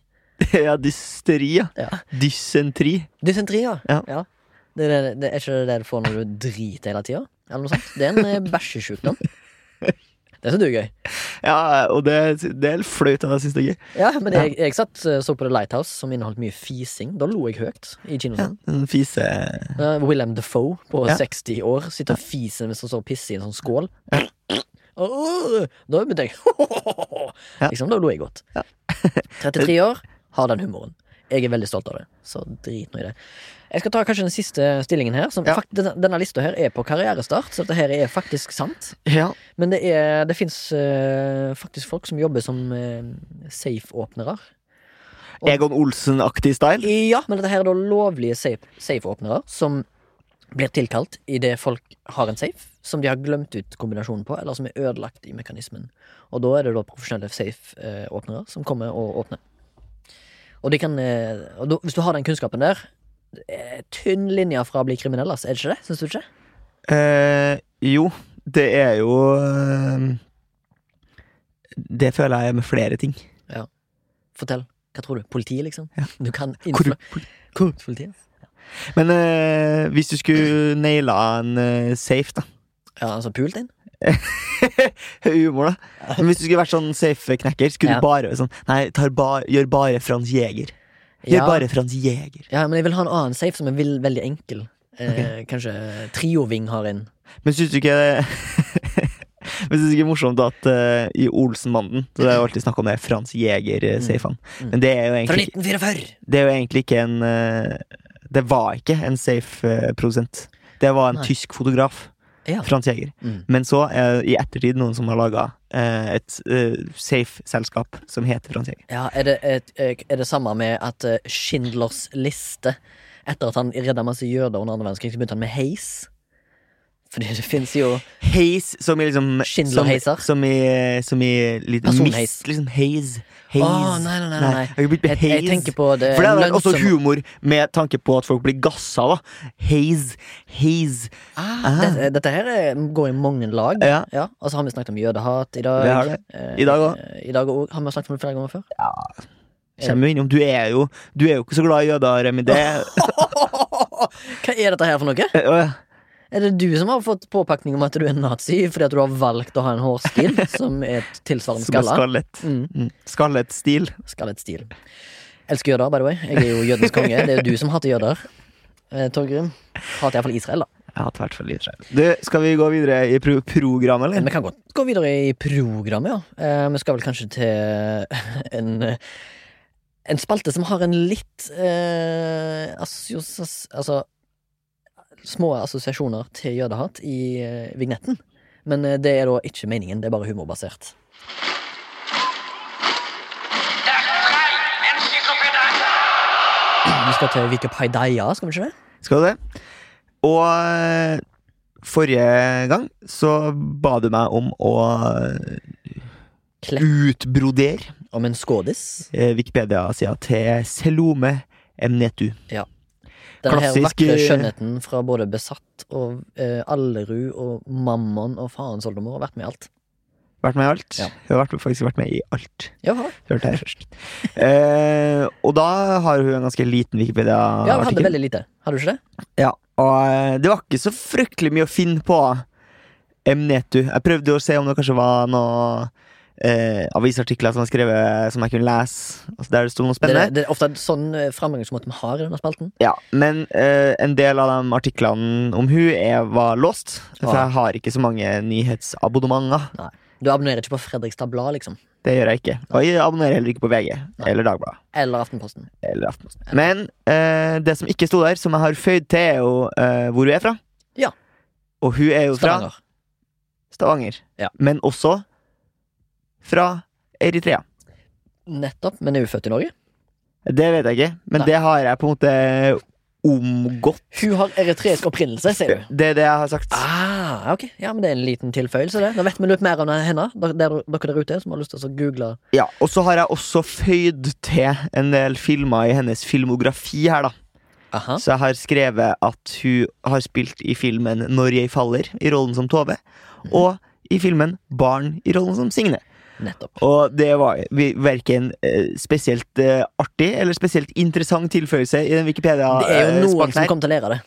[SPEAKER 2] ja, dysteri, ja.
[SPEAKER 1] Ja.
[SPEAKER 2] Dysentri.
[SPEAKER 1] Dysenteri, ja.
[SPEAKER 2] Ja.
[SPEAKER 1] Det, er det, det er ikke det du får når du driter hele tida? Eller noe sånt? Det er en eh, bæsjesjukdom. Det syns du er gøy.
[SPEAKER 2] Ja, og det, det er litt flaut, og jeg syns det er gøy.
[SPEAKER 1] Ja, men jeg, jeg satt eh, så på The Lighthouse, som inneholdt mye fising. Da lo jeg høyt i kinosalen.
[SPEAKER 2] En fise...
[SPEAKER 1] Uh, William Defoe på
[SPEAKER 2] Ja.
[SPEAKER 1] 60 år sitter og fiser mens han står og pisser i en sånn skål. Åh, da begynte jeg
[SPEAKER 2] Ja.
[SPEAKER 1] liksom, Da lo jeg godt. 33 år, har den humoren. Jeg er veldig stolt av det, så drit nå i det. Jeg skal ta kanskje den siste stillingen her. Som
[SPEAKER 2] Ja.
[SPEAKER 1] fakt denne, denne lista her er på karrierestart, så dette her er faktisk sant.
[SPEAKER 2] Ja.
[SPEAKER 1] Men det, er- det fins faktisk folk som jobber som eh, safe-åpnere.
[SPEAKER 2] Egon Olsen-aktig style.
[SPEAKER 1] Ja, men dette her er da lovlige safe- safe-åpnere som blir tilkalt idet folk har en safe som de har glemt ut kombinasjonen på, eller som er ødelagt i mekanismen. Og da er det da profesjonelle safe-åpnere som kommer og åpner. Og, de kan, eh, og da, hvis du har den kunnskapen der det er Tynn linje fra å bli kriminell, ass. Er det ikke det? Syns du ikke?
[SPEAKER 2] Eh, jo, det er jo eh, Det føler jeg er med flere ting.
[SPEAKER 1] Fortell. Hva tror du? Politiet, liksom?
[SPEAKER 2] Ja.
[SPEAKER 1] Du kan
[SPEAKER 2] Korru-
[SPEAKER 1] innfla... Korrupt politi?
[SPEAKER 2] Men eh, hvis du skulle naila en eh, safe, da
[SPEAKER 1] Ja, altså pult inn?
[SPEAKER 2] Humor, da. Men hvis du skulle vært sånn safe-knekker, skulle
[SPEAKER 1] Ja.
[SPEAKER 2] du bare være sånn Nei, tar ba, gjør bare Frans Jæger. Gjør
[SPEAKER 1] Ja.
[SPEAKER 2] bare Frans Jæger.
[SPEAKER 1] Ja, men jeg vil ha en annen safe som er vill- veldig enkel. Eh, Kanskje Trioving har en.
[SPEAKER 2] Men syns du ikke Men syns du ikke det er morsomt at eh, i Olsenbanden Så det er jo alltid snakk om det Frans Jæger-safen.
[SPEAKER 1] Mm.
[SPEAKER 2] Men det er jo
[SPEAKER 1] Fra
[SPEAKER 2] egentlig,
[SPEAKER 1] 1944!
[SPEAKER 2] det er jo egentlig ikke en eh, Det var ikke en safe-produsent. Det var en
[SPEAKER 1] Nei.
[SPEAKER 2] tysk fotograf.
[SPEAKER 1] Ja.
[SPEAKER 2] Frans Jæger.
[SPEAKER 1] Mm.
[SPEAKER 2] Men så er det i ettertid noen som har laga et eh, safe-selskap som heter Frans Jæger.
[SPEAKER 1] Ja, er det, et, eh, er det samme med at eh, Schindlers liste Etter at han redda masse jøder under andre verdenskrig, så begynte han med heis? Fordi det fins jo
[SPEAKER 2] Heis som i liksom
[SPEAKER 1] Schindler-heiser?
[SPEAKER 2] Som, som i, som i litt
[SPEAKER 1] Personheis.
[SPEAKER 2] mist. Liksom haze. Haze.
[SPEAKER 1] Å, nei, nei, nei, nei.
[SPEAKER 2] Jeg har blitt med
[SPEAKER 1] Jeg, jeg
[SPEAKER 2] haze.
[SPEAKER 1] tenker på det
[SPEAKER 2] For det er også
[SPEAKER 1] lønnsomme-
[SPEAKER 2] humor med tanke på at folk blir gassa, da. Haze. Haze.
[SPEAKER 1] Ah, dette, dette her er, går i mange lag.
[SPEAKER 2] Ja.
[SPEAKER 1] Og så har vi snakket om jødehat i dag.
[SPEAKER 2] Vi har det.
[SPEAKER 1] Eh,
[SPEAKER 2] I dag også.
[SPEAKER 1] eh, I dag også. Har vi snakket om det flere ganger før?
[SPEAKER 2] Kommer jo innom. Du er jo, du er jo ikke så glad i jøder, Remi. Det
[SPEAKER 1] Hva er dette her for noe?
[SPEAKER 2] Å, ja.
[SPEAKER 1] Er det du som har fått påpakning om at du er nazi fordi at du har valgt å ha en hårstil som er tilsvarende
[SPEAKER 2] Som er
[SPEAKER 1] skalla?
[SPEAKER 2] skallet.
[SPEAKER 1] Mm.
[SPEAKER 2] Mm. Skallet stil.
[SPEAKER 1] Skallet stil. Elsker jøder, by the way. Jeg er jo jødens konge. Det er jo du som hater jøder. Eh, Torgrim. Hater iallfall Israel, da.
[SPEAKER 2] Jeg har hatt hvert fall litt skjell. Du, skal vi gå videre i pro programmet,
[SPEAKER 1] Men
[SPEAKER 2] eller?
[SPEAKER 1] vi kan godt gå videre i programmet, ja. Eh, vi skal vel kanskje til en eh, en spalte som har en litt eh, assosias, Altså små assosiasjoner til jødehat i eh, vignetten. Men eh, det er da ikke meningen. Det er bare humorbasert. Vi skal til Wikipedia, skal vi ikke det?
[SPEAKER 2] Skal du det? Og eh, forrige gang så ba du meg om å eh,
[SPEAKER 1] Klepp.
[SPEAKER 2] utbrodere
[SPEAKER 1] Om en skådis.
[SPEAKER 2] eh, Wikipedia-sida til Selome E Emnetu.
[SPEAKER 1] Den her
[SPEAKER 2] Klassisk,
[SPEAKER 1] vakre
[SPEAKER 2] eh,
[SPEAKER 1] skjønnheten fra både Besatt og eh, Allerud og Mammon og farens oldemor har vært med i alt.
[SPEAKER 2] Vært med i alt.
[SPEAKER 1] Ja.
[SPEAKER 2] Hun har vært, faktisk vært med i alt.
[SPEAKER 1] Jaha.
[SPEAKER 2] Hørte her først. eh, og da har hun en ganske liten
[SPEAKER 1] Ja, vi hadde
[SPEAKER 2] Wikipedia-artikkel.
[SPEAKER 1] veldig lite. Hadde du ikke det?
[SPEAKER 2] Ja, og eh, det var ikke så fryktelig mye å finne på Emnetu. Jeg prøvde å se om det kanskje var noen eh, avisartikler som var skrevet som jeg kunne lese. Altså der det sto noe
[SPEAKER 1] Det,
[SPEAKER 2] spennende.
[SPEAKER 1] er- det er ofte sånn eh, framgangsmåte vi har i denne spalten.
[SPEAKER 2] Ja, Men eh, en del av de artiklene om hun er, var låst, for
[SPEAKER 1] Ah.
[SPEAKER 2] jeg har ikke så mange nyhetsabonnementer.
[SPEAKER 1] Du abonnerer ikke på Fredrikstad Blad, liksom.
[SPEAKER 2] Det gjør jeg ikke. Og jeg abonnerer heller ikke på VG
[SPEAKER 1] Nei.
[SPEAKER 2] eller Dagbladet.
[SPEAKER 1] Eller Aftenposten.
[SPEAKER 2] Eller Aftenposten. Men eh, det som ikke sto der, som jeg har føyd til, er jo eh, hvor hun er fra.
[SPEAKER 1] Ja.
[SPEAKER 2] Og hun er jo fra
[SPEAKER 1] Stavanger.
[SPEAKER 2] Stavanger.
[SPEAKER 1] Ja.
[SPEAKER 2] Men også fra Eritrea.
[SPEAKER 1] Nettopp. Men er hun født i Norge?
[SPEAKER 2] Det vet jeg ikke, men
[SPEAKER 1] Nei.
[SPEAKER 2] det har jeg på en måte omgått.
[SPEAKER 1] Hun har eritreisk opprinnelse, sier du.
[SPEAKER 2] Det er det jeg har sagt.
[SPEAKER 1] Ah, ok. Ja, men Det er en liten tilføyelse. det Nå vet vi litt mer om henne. Der, der, dere der ute som har lyst til å google
[SPEAKER 2] Ja, Og så har jeg også føyd til en del filmer i hennes filmografi her, da.
[SPEAKER 1] Aha.
[SPEAKER 2] Så jeg har skrevet at hun har spilt i filmen Når jeg faller, i rollen som Tove.
[SPEAKER 1] Mhm.
[SPEAKER 2] Og i filmen Barn, i rollen som Signe.
[SPEAKER 1] Nettopp.
[SPEAKER 2] Og det var vi- verken eh, spesielt eh, artig eller spesielt interessant tilføyelse i den
[SPEAKER 1] Det er jo noen
[SPEAKER 2] Wikipedia-spalten
[SPEAKER 1] som
[SPEAKER 2] her.
[SPEAKER 1] kommer til å lære det.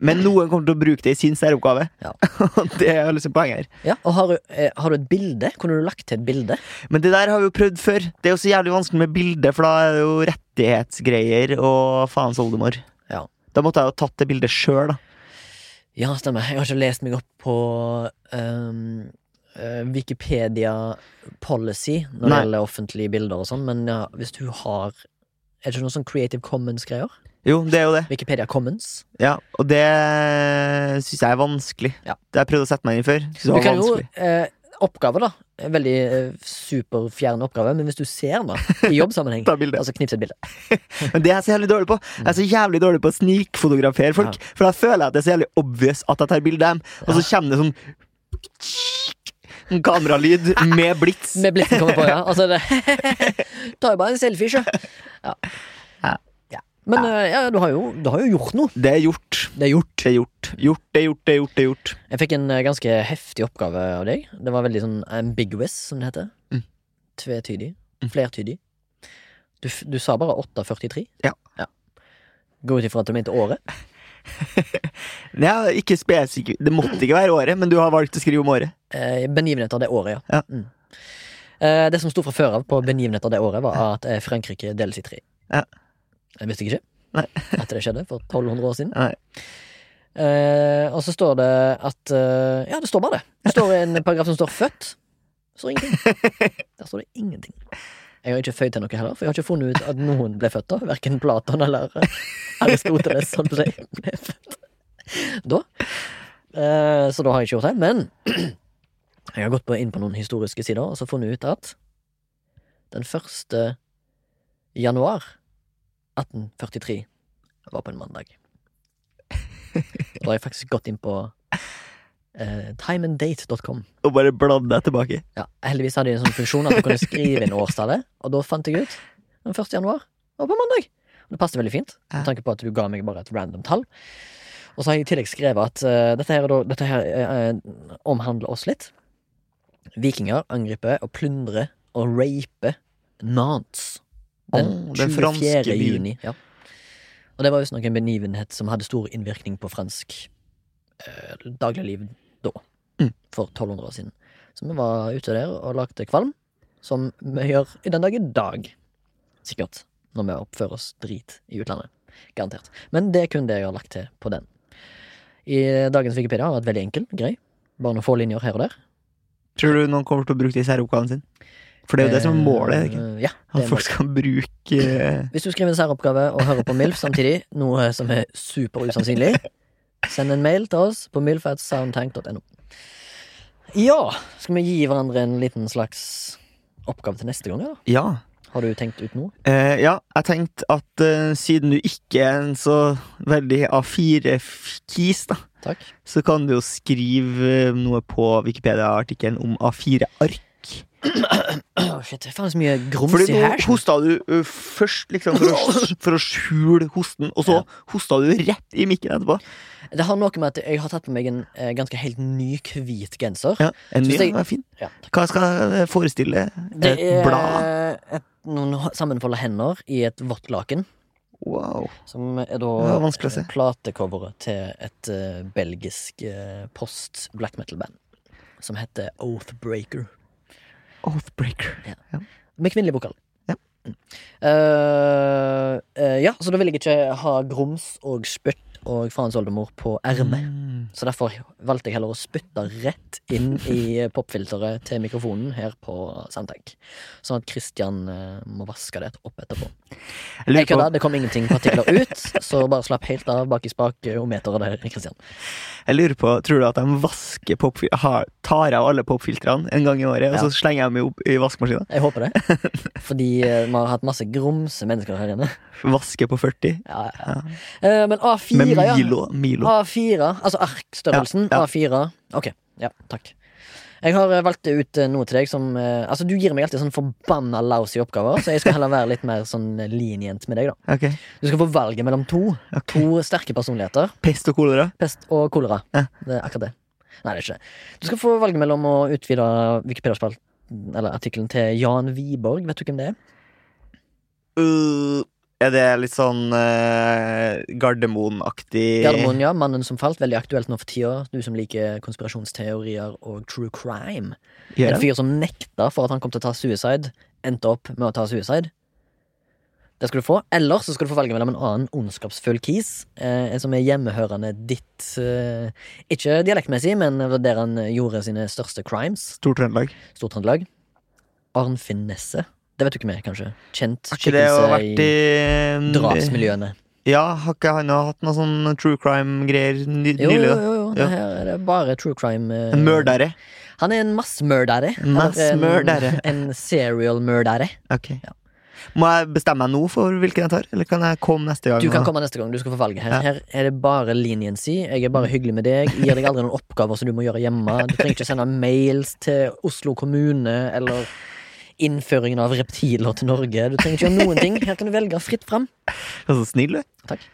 [SPEAKER 2] Men noen kommer til å bruke det i sin særoppgave.
[SPEAKER 1] Ja.
[SPEAKER 2] Og det er liksom poenget her.
[SPEAKER 1] Ja, og har du, eh, har du et bilde? Kunne du lagt til et bilde?
[SPEAKER 2] Men det der har vi jo prøvd før. Det er jo så jævlig vanskelig med bilde, for da er det jo rettighetsgreier og faens oldemor.
[SPEAKER 1] Ja.
[SPEAKER 2] Da måtte jeg jo tatt det bildet sjøl, da.
[SPEAKER 1] Ja, stemmer. Jeg har ikke lest meg opp på ehm, eh, Wikipedia policy når det
[SPEAKER 2] Nei.
[SPEAKER 1] gjelder offentlige bilder og sånn, men ja, hvis du har Er det ikke noe sånn Creative Commons-greier?
[SPEAKER 2] Jo, det er jo det.
[SPEAKER 1] Wikipedia Commons?
[SPEAKER 2] Ja, og det syns jeg er vanskelig.
[SPEAKER 1] Ja.
[SPEAKER 2] Det har jeg prøvd å sette meg inn i før. Synes det
[SPEAKER 1] Du
[SPEAKER 2] var
[SPEAKER 1] kan jo
[SPEAKER 2] vanskelig.
[SPEAKER 1] eh, Oppgave, da. En Veldig eh, superfjern oppgave, men hvis du ser den da, i jobbsammenheng,
[SPEAKER 2] Ta bilde.
[SPEAKER 1] altså knips et bilde.
[SPEAKER 2] Men det er jeg så jævlig dårlig på. Jeg er så jævlig dårlig på å snikfotografere folk. For da føler jeg at det er så jævlig obvious at jeg tar bilde av dem. Og så kommer det sånn en kameralyd med blits.
[SPEAKER 1] Med blitzen kommer på, ja. Altså, det Tar jo bare en selfie, sjø. Ja.
[SPEAKER 2] Ja.
[SPEAKER 1] ja. Men eh, ja, du har, jo, du har jo gjort noe.
[SPEAKER 2] Det er gjort.
[SPEAKER 1] Det er gjort.
[SPEAKER 2] Det er gjort. Gjort, det er gjort, det er gjort. Det er gjort.
[SPEAKER 1] Jeg fikk en eh, ganske heftig oppgave av deg. Det var veldig sånn ambiguous, som det heter.
[SPEAKER 2] Mm.
[SPEAKER 1] Tvetydig. Flertydig. Du, f- du sa bare 843.
[SPEAKER 2] Ja.
[SPEAKER 1] Gå ut ifra at du mente året.
[SPEAKER 2] Det er ikke spesifik- Det måtte ikke være året, men du har valgt å skrive om året.
[SPEAKER 1] Eh, Begivenheter det året, ja.
[SPEAKER 2] Ja.
[SPEAKER 1] Mm. Eh, det som sto fra før av på begivenheter det året, var at eh, Frankrike deles i tre.
[SPEAKER 2] Ja.
[SPEAKER 1] Jeg visste ikke
[SPEAKER 2] Nei.
[SPEAKER 1] at det skjedde for 1200 år siden.
[SPEAKER 2] Nei.
[SPEAKER 1] Eh, og så står det at eh, Ja, det står bare det. Det står en paragraf som står 'født'. Det står ingenting. Der står det ingenting. Jeg har ikke føyd til noe heller, for jeg har ikke funnet ut at noen ble født da. Verken Platon eller eh, Aristoteles som ble, ble født da. Eh, så da har jeg ikke gjort det. Men jeg har gått på, inn på noen historiske sider og så funnet ut at den første januar 1843 var på en mandag. Da har jeg faktisk gått inn på eh, timeanddate.com.
[SPEAKER 2] Og bare bladde deg tilbake.
[SPEAKER 1] Ja, heldigvis hadde de en sånn funksjon at du kunne skrive inn årstallet, og da fant jeg ut den 1. januar var på mandag. Og det passet veldig fint, med tanke på at du ga meg bare et random tall. Og så har jeg i tillegg skrevet at eh, dette her, er da, dette her eh, eh, omhandler oss litt. Vikinger angriper og plyndrer og raper Nantes den
[SPEAKER 2] Åh, den
[SPEAKER 1] 24.
[SPEAKER 2] franske byen.
[SPEAKER 1] juni. Ja. Og det var visstnok en benivenhet som hadde stor innvirkning på fransk eh, dagligliv da,
[SPEAKER 2] Mm.
[SPEAKER 1] for 1200 år siden. Så vi var ute der og lagde kvalm, som vi gjør i den dag i dag. Sikkert. Når vi oppfører oss drit i utlandet. Garantert. Men det er kun det jeg har lagt til på den. I dagens Wikipedia har vært veldig enkel, grei. Bare noen få linjer her og der.
[SPEAKER 2] Tror du noen kommer til å bruke det i særoppgaven sin? For det er jo det som er målet. er det Ikke?
[SPEAKER 1] Eh, Ja, det
[SPEAKER 2] At
[SPEAKER 1] er
[SPEAKER 2] folk
[SPEAKER 1] målet.
[SPEAKER 2] skal bruke eh,
[SPEAKER 1] Hvis du skriver en særoppgave og hører på MILF samtidig, noe som er super usannsynlig, send en mail til oss på milfatsoundtank.no. Ja, skal vi gi hverandre en liten slags oppgave til neste gang, eller?
[SPEAKER 2] Ja.
[SPEAKER 1] Har du tenkt ut noe?
[SPEAKER 2] Eh, ja, jeg tenkte at eh, siden du ikke er en så veldig A4-kis, da,
[SPEAKER 1] Takk.
[SPEAKER 2] så kan du jo skrive eh, noe på Wikipedia-artikkelen om A4-ark.
[SPEAKER 1] Åh, shit, det er faen så mye grums
[SPEAKER 2] Fordi
[SPEAKER 1] i
[SPEAKER 2] nå
[SPEAKER 1] her. skjønner
[SPEAKER 2] hosta du eh, først liksom for å, for å skjule hosten, og så
[SPEAKER 1] Ja.
[SPEAKER 2] hosta du rett i mikken etterpå.
[SPEAKER 1] du. Det har noe med at jeg har tatt på meg en eh, ganske helt ny hvit genser.
[SPEAKER 2] Ja, en ny
[SPEAKER 1] Synes jeg-
[SPEAKER 2] var fin.
[SPEAKER 1] Ja.
[SPEAKER 2] Hva skal jeg forestille?
[SPEAKER 1] Det
[SPEAKER 2] Et
[SPEAKER 1] er
[SPEAKER 2] blad?
[SPEAKER 1] et, noen h- sammenfolda hender i et vått laken,
[SPEAKER 2] Wow.
[SPEAKER 1] som er da
[SPEAKER 2] Det var vanskelig å se.
[SPEAKER 1] eh, platecoveret til et eh, belgisk eh, post black metal-band som heter Oathbreaker.
[SPEAKER 2] Oathbreaker.
[SPEAKER 1] Med kvinnelig vokal.
[SPEAKER 2] Ja.
[SPEAKER 1] Mm. Eh, eh, ja, så da vil jeg ikke ha grums og spytt og faens oldemor på ermet.
[SPEAKER 2] Mm.
[SPEAKER 1] Så derfor valgte jeg heller å spytte rett inn i popfilteret til mikrofonen her på Soundtank. Sånn at Christian eh, må vaske det opp etterpå.
[SPEAKER 2] Jeg lurer
[SPEAKER 1] Jeg
[SPEAKER 2] på
[SPEAKER 1] kødda, det kom ingenting partikler ut, så bare slapp helt av bak i spakometeret der, Christian.
[SPEAKER 2] Jeg lurer på, tror du at de vasker popfil- har, tar av alle popfiltrene en gang i året,
[SPEAKER 1] Ja.
[SPEAKER 2] og så slenger de dem opp i vaskemaskina?
[SPEAKER 1] Jeg håper det. Fordi eh, vi har hatt masse grumse mennesker her inne.
[SPEAKER 2] Vaske på 40?
[SPEAKER 1] Ja, ja. Eh, Men A4,
[SPEAKER 2] Med
[SPEAKER 1] ja.
[SPEAKER 2] Milo. Milo.
[SPEAKER 1] A4, altså arkstørrelsen.
[SPEAKER 2] Ja, ja.
[SPEAKER 1] A4. Ok, ja, takk. Jeg har eh, valgt ut eh, noe til deg som eh, Altså, du gir meg alltid sånn forbanna lousy oppgaver, så jeg skal heller være litt mer sånn eh, lenient med deg, da.
[SPEAKER 2] Ok.
[SPEAKER 1] Du skal få valget mellom to.
[SPEAKER 2] ok.
[SPEAKER 1] To sterke personligheter.
[SPEAKER 2] Pest og kolera?
[SPEAKER 1] Pest og kolera.
[SPEAKER 2] Ja.
[SPEAKER 1] Det er akkurat det. Nei, det er ikke det. Du skal få valget mellom å utvide Wikipedia-spalten, eller artikkelen til Jan Wiborg. Vet du hvem det er?
[SPEAKER 2] Uh, Er det litt sånn eh, Gardermoen-aktig
[SPEAKER 1] Gardermoen, ja. Mannen som falt. Veldig aktuelt nå for tida. Du som liker konspirasjonsteorier og true crime.
[SPEAKER 2] Gjør
[SPEAKER 1] En
[SPEAKER 2] jeg?
[SPEAKER 1] fyr som nekta for at han kom til å ta suicide, endte opp med å ta suicide. Det skal du få. Eller så skal du få velge mellom en annen ondskapsfull kis, eh, som er hjemmehørende ditt eh, Ikke dialektmessig, men der han gjorde sine største crimes.
[SPEAKER 2] Stor-Trøndelag.
[SPEAKER 1] Stor-Trøndelag. Arnfinn Nesse. Det vet du ikke mer, kanskje? Kjent
[SPEAKER 2] Har ikke det jo vært eh, i mm,
[SPEAKER 1] drapsmiljøene.
[SPEAKER 2] Ja, har ikke han hatt noe sånn true crime-greier ny-
[SPEAKER 1] Jo, jo,
[SPEAKER 2] nylig? da?
[SPEAKER 1] jo. jo. Det her er det bare true crime. eh,
[SPEAKER 2] En mørdere.
[SPEAKER 1] Han er en massemørdere. eller
[SPEAKER 2] Massemørdere.
[SPEAKER 1] En, en serial-mørdere.
[SPEAKER 2] Ok. Må jeg bestemme meg nå for hvilken jeg tar, eller kan jeg komme neste gang?
[SPEAKER 1] Du kan
[SPEAKER 2] og-
[SPEAKER 1] komme neste gang. Du skal få valget her.
[SPEAKER 2] Ja. Mm.
[SPEAKER 1] Her er det bare leniency. Jeg er bare hyggelig med deg. Gir deg aldri noen oppgaver som du må gjøre hjemme. Du trenger ikke sende mails til Oslo kommune eller innføringen av reptiler til Norge. Du trenger ikke gjøre noen ting. Her kan du velge fritt fram.
[SPEAKER 2] Så snill, du.
[SPEAKER 1] Takk.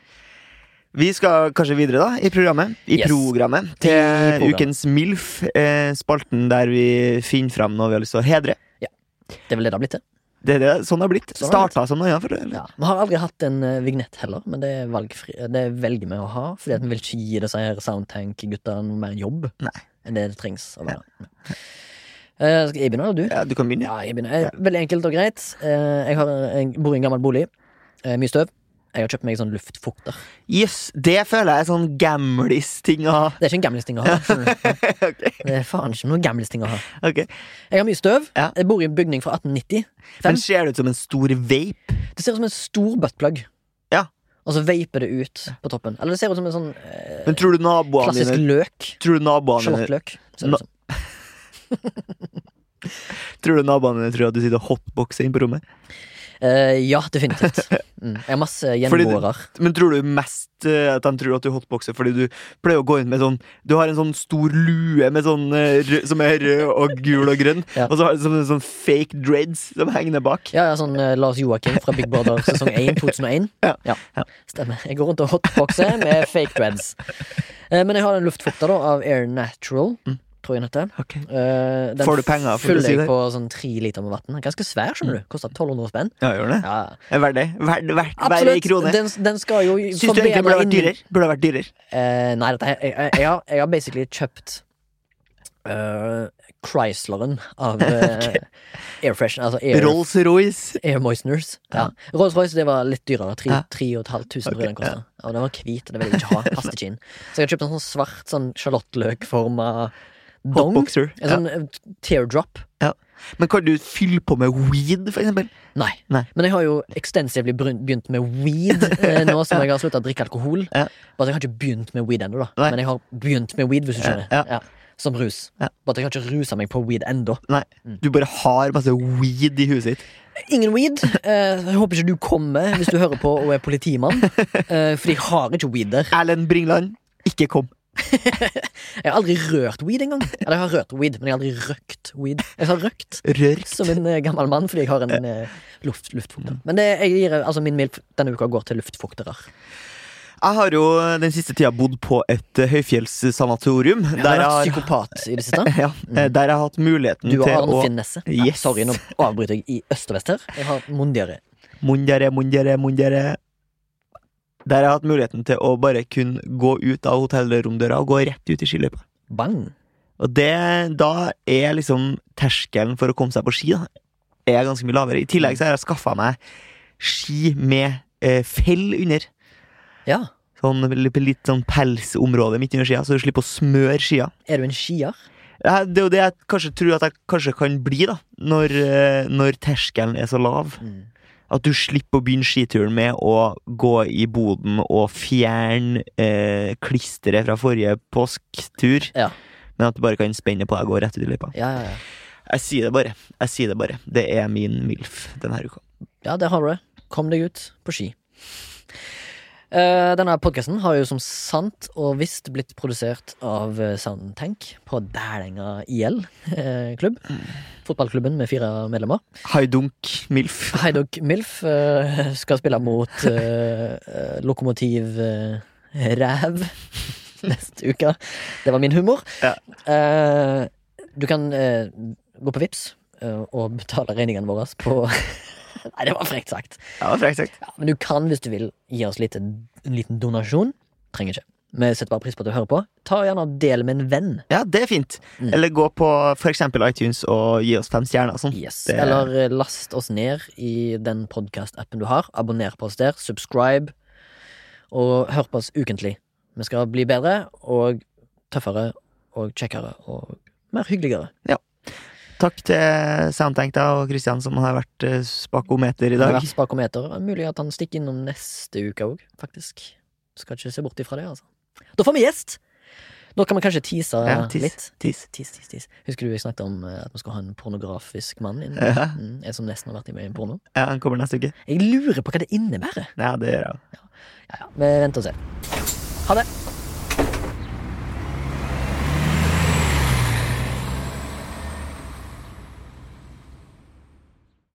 [SPEAKER 2] Vi skal kanskje videre da, i programmet. I
[SPEAKER 1] Yes.
[SPEAKER 2] programmet til
[SPEAKER 1] I programmet.
[SPEAKER 2] ukens MILF, eh, spalten der vi finner fram noe vi har lyst til å hedre.
[SPEAKER 1] Det er vel det det har blitt til.
[SPEAKER 2] Det er det, sånn det har blitt.
[SPEAKER 1] Sånn har det
[SPEAKER 2] Starta som noe annet. for det, eller?
[SPEAKER 1] Ja. Vi har aldri hatt en eh, vignett heller, men det, er valgfri, det velger vi å ha. Fordi at vi vil ikke gi disse her Soundtank-gutta noe mer jobb
[SPEAKER 2] Nei.
[SPEAKER 1] enn det det trengs å være. Eh, skal jeg begynne, eller du?
[SPEAKER 2] Ja, du kan begynne.
[SPEAKER 1] Ja, jeg begynner. Eh, Veldig enkelt og greit. Eh, Jeg har jeg bor i en gammel bolig. Eh, Mye støv. Jeg har kjøpt meg sånn luftfukter.
[SPEAKER 2] Jøss, det føler jeg er sånn gamlis-ting å ha.
[SPEAKER 1] Det er ikke en gamlisting å ha. skjønner du.
[SPEAKER 2] ok,
[SPEAKER 1] Det er faen ikke noen gamlisting å ha.
[SPEAKER 2] ok.
[SPEAKER 1] Jeg har mye støv.
[SPEAKER 2] Ja.
[SPEAKER 1] Jeg bor i en bygning fra 1890. Fem.
[SPEAKER 2] Men ser det ut som en stor vape?
[SPEAKER 1] Det ser ut som en stor buttplug.
[SPEAKER 2] Ja.
[SPEAKER 1] Og så veiper det ut på toppen. Eller det ser ut som en sånn eh,
[SPEAKER 2] Men tror du naboene
[SPEAKER 1] klassisk
[SPEAKER 2] dine
[SPEAKER 1] løk.
[SPEAKER 2] Tror du naboene dine
[SPEAKER 1] Skjortløk. ser det ut som.
[SPEAKER 2] Tror du naboene dine tror at du sitter og hotboxer inn på rommet?
[SPEAKER 1] Eh, Ja, definitivt. Mm. Jeg har masse
[SPEAKER 2] Fordi du-
[SPEAKER 1] gjenborer.
[SPEAKER 2] Men tror du mest eh, at de tror at du hotboxer fordi du pleier å gå inn med sånn Du har en sånn stor lue med sånn, eh, rød, som er rød og gul og grønn,
[SPEAKER 1] Ja.
[SPEAKER 2] og så har du sånne, sånn fake dreads som henger ned bak.
[SPEAKER 1] Ja, ja, sånn eh, Lars Joakim fra Big Brother sesong 1 2001.
[SPEAKER 2] Ja.
[SPEAKER 1] Stemmer. Jeg går rundt og hotboxer med fake dreads. Eh, Men jeg har en luftfukter da av Air Natural, tror jeg den heter.
[SPEAKER 2] Ok.
[SPEAKER 1] Eh, Den
[SPEAKER 2] Mm. Får du penger for å
[SPEAKER 1] fyller
[SPEAKER 2] si
[SPEAKER 1] jeg
[SPEAKER 2] det?
[SPEAKER 1] på sånn tre liter med vann. Den er Ganske svær, skjønner du. Koster 1200 spenn.
[SPEAKER 2] Ja, gjør det?
[SPEAKER 1] Ja.
[SPEAKER 2] Er Verdt det? Verdt verd, hver
[SPEAKER 1] Absolutt.
[SPEAKER 2] krone?
[SPEAKER 1] Den, den skal jo
[SPEAKER 2] Syns du egentlig burde vært dyrere? Burde vært dyrere?
[SPEAKER 1] Eh, nei, dette her jeg, jeg, jeg, har- jeg har basically kjøpt eh, Chrysleren av eh, Air Fresh. Altså Air
[SPEAKER 2] Rolls-Royce?
[SPEAKER 1] Air Moisteners. Ja. Rolls-Royce det var litt dyrere. Tre-
[SPEAKER 2] Ja.
[SPEAKER 1] 3500 tror jeg den
[SPEAKER 2] Ok, ja.
[SPEAKER 1] kosta. Og den var hvit, og det ville jeg ikke ha. Passet ikke inn. Så jeg har kjøpt en sånn svart sånn sjalottløkforma dong.
[SPEAKER 2] Hotboxer?
[SPEAKER 1] En sånn eh, teardrop.
[SPEAKER 2] Men kan du fylle på med weed, for eksempel?
[SPEAKER 1] Nei.
[SPEAKER 2] Nei.
[SPEAKER 1] Men jeg har jo ekstensivt begynt med weed eh, nå som jeg har slutta å drikke alkohol.
[SPEAKER 2] Ja.
[SPEAKER 1] Bare at jeg har ikke begynt med weed ennå, da.
[SPEAKER 2] Nei.
[SPEAKER 1] Men jeg har begynt med weed, hvis du skjønner.
[SPEAKER 2] Ja.
[SPEAKER 1] Som rus.
[SPEAKER 2] Ja.
[SPEAKER 1] Bare at jeg har ikke rusa meg på weed ennå.
[SPEAKER 2] Nei. Du bare har masse weed i huset ditt.
[SPEAKER 1] Ingen weed. Eh, jeg håper ikke du kommer hvis du hører på og er politimann. Eh, for de har ikke weed der.
[SPEAKER 2] Erlend Bringland, ikke kom.
[SPEAKER 1] Jeg har aldri rørt weed engang. Eller jeg har rørt weed, men jeg har aldri røkt weed. Jeg har røkt
[SPEAKER 2] Rørk.
[SPEAKER 1] som en eh, gammel mann fordi jeg har en eh, luft, luftfukter. Men det, jeg gir, eh, altså min milf denne uka går til luftfuktere.
[SPEAKER 2] Jeg har jo den siste tida bodd på et eh, høyfjellssanatorium.
[SPEAKER 1] Jeg
[SPEAKER 2] Der
[SPEAKER 1] har vært
[SPEAKER 2] jeg har,
[SPEAKER 1] psykopat i det siste.
[SPEAKER 2] ja, eh, der jeg har hatt muligheten
[SPEAKER 1] Du og
[SPEAKER 2] til
[SPEAKER 1] Aron
[SPEAKER 2] å
[SPEAKER 1] Finnesse.
[SPEAKER 2] Yes.
[SPEAKER 1] Sorry, nå avbryter jeg i øst og vest her. Jeg har mondiare.
[SPEAKER 2] Mundjere, mundjere, mundjare. Der jeg har hatt muligheten til å bare kun gå ut av hotellromdøra og gå rett ut i skiløypa.
[SPEAKER 1] Bang.
[SPEAKER 2] Og det, da er liksom terskelen for å komme seg på ski da, er ganske mye lavere. I tillegg så har jeg skaffa meg ski med eh, fell under.
[SPEAKER 1] Ja.
[SPEAKER 2] Sånn litt, litt sånn pelsområde midt under skia, så du slipper å smøre skia.
[SPEAKER 1] Er du en skier?
[SPEAKER 2] Ja, Det er jo det jeg kanskje tror at jeg kanskje kan bli, da. Når, eh, når terskelen er så lav.
[SPEAKER 1] Mm.
[SPEAKER 2] At du slipper å begynne skituren med å gå i boden og fjerne eh, klisteret fra forrige påsktur.
[SPEAKER 1] Ja.
[SPEAKER 2] Men at du bare kan spenne på deg og gå rett ut i løypa.
[SPEAKER 1] Ja, ja, ja.
[SPEAKER 2] Jeg sier det bare. Jeg sier det bare. Det er min MILF denne uka.
[SPEAKER 1] Ja, der har du det. Kom deg ut på ski. Eh, denne podkasten har jo som sant og visst blitt produsert av eh, Soundtank på Dælenga IL eh, klubb. Fotballklubben med fire medlemmer.
[SPEAKER 2] Haidunk MILF.
[SPEAKER 1] Heidok Milf eh, skal spille mot eh, eh, Lokomotiv eh, Ræv neste uke. Det var min humor.
[SPEAKER 2] Ja.
[SPEAKER 1] Eh, du kan eh, gå på Vips eh, og betale regningene våre på Nei, det var frekt sagt.
[SPEAKER 2] Det var frekt sagt.
[SPEAKER 1] Ja, men du kan, hvis du vil, gi oss litt, en liten donasjon. Trenger ikke. Vi setter bare pris på at du hører på. Ta og gjerne og del med en venn.
[SPEAKER 2] Ja, det er fint.
[SPEAKER 1] Mm.
[SPEAKER 2] Eller gå på for eksempel iTunes og gi oss fem stjerner. og Sånn.
[SPEAKER 1] Yes.
[SPEAKER 2] Det-
[SPEAKER 1] Eller eh, last oss ned i den podkast-appen du har. Abonner på oss der. Subscribe. Og hør på oss ukentlig. Vi skal bli bedre og tøffere og kjekkere og mer hyggeligere.
[SPEAKER 2] Takk til Soundtank da, og Kristian, som har vært eh, spakometer i
[SPEAKER 1] Det har
[SPEAKER 2] dag.
[SPEAKER 1] vært spakometer. Mulig at han stikker innom neste uke òg, faktisk. Skal ikke se bort ifra det, altså. Da får vi gjest! Nå kan vi kanskje tease
[SPEAKER 2] Ja, tis.
[SPEAKER 1] litt.
[SPEAKER 2] Tis.
[SPEAKER 1] Tis, tis, tis. Husker du jeg snakket om eh, at vi skal ha en pornografisk mann? Inn?
[SPEAKER 2] Ja.
[SPEAKER 1] Mm, en som nesten har vært med i porno?
[SPEAKER 2] Ja, han kommer neste uke.
[SPEAKER 1] Jeg lurer på hva det innebærer.
[SPEAKER 2] Ja, det gjør jeg.
[SPEAKER 1] Ja, ja. Vi venter og ser. Ha det.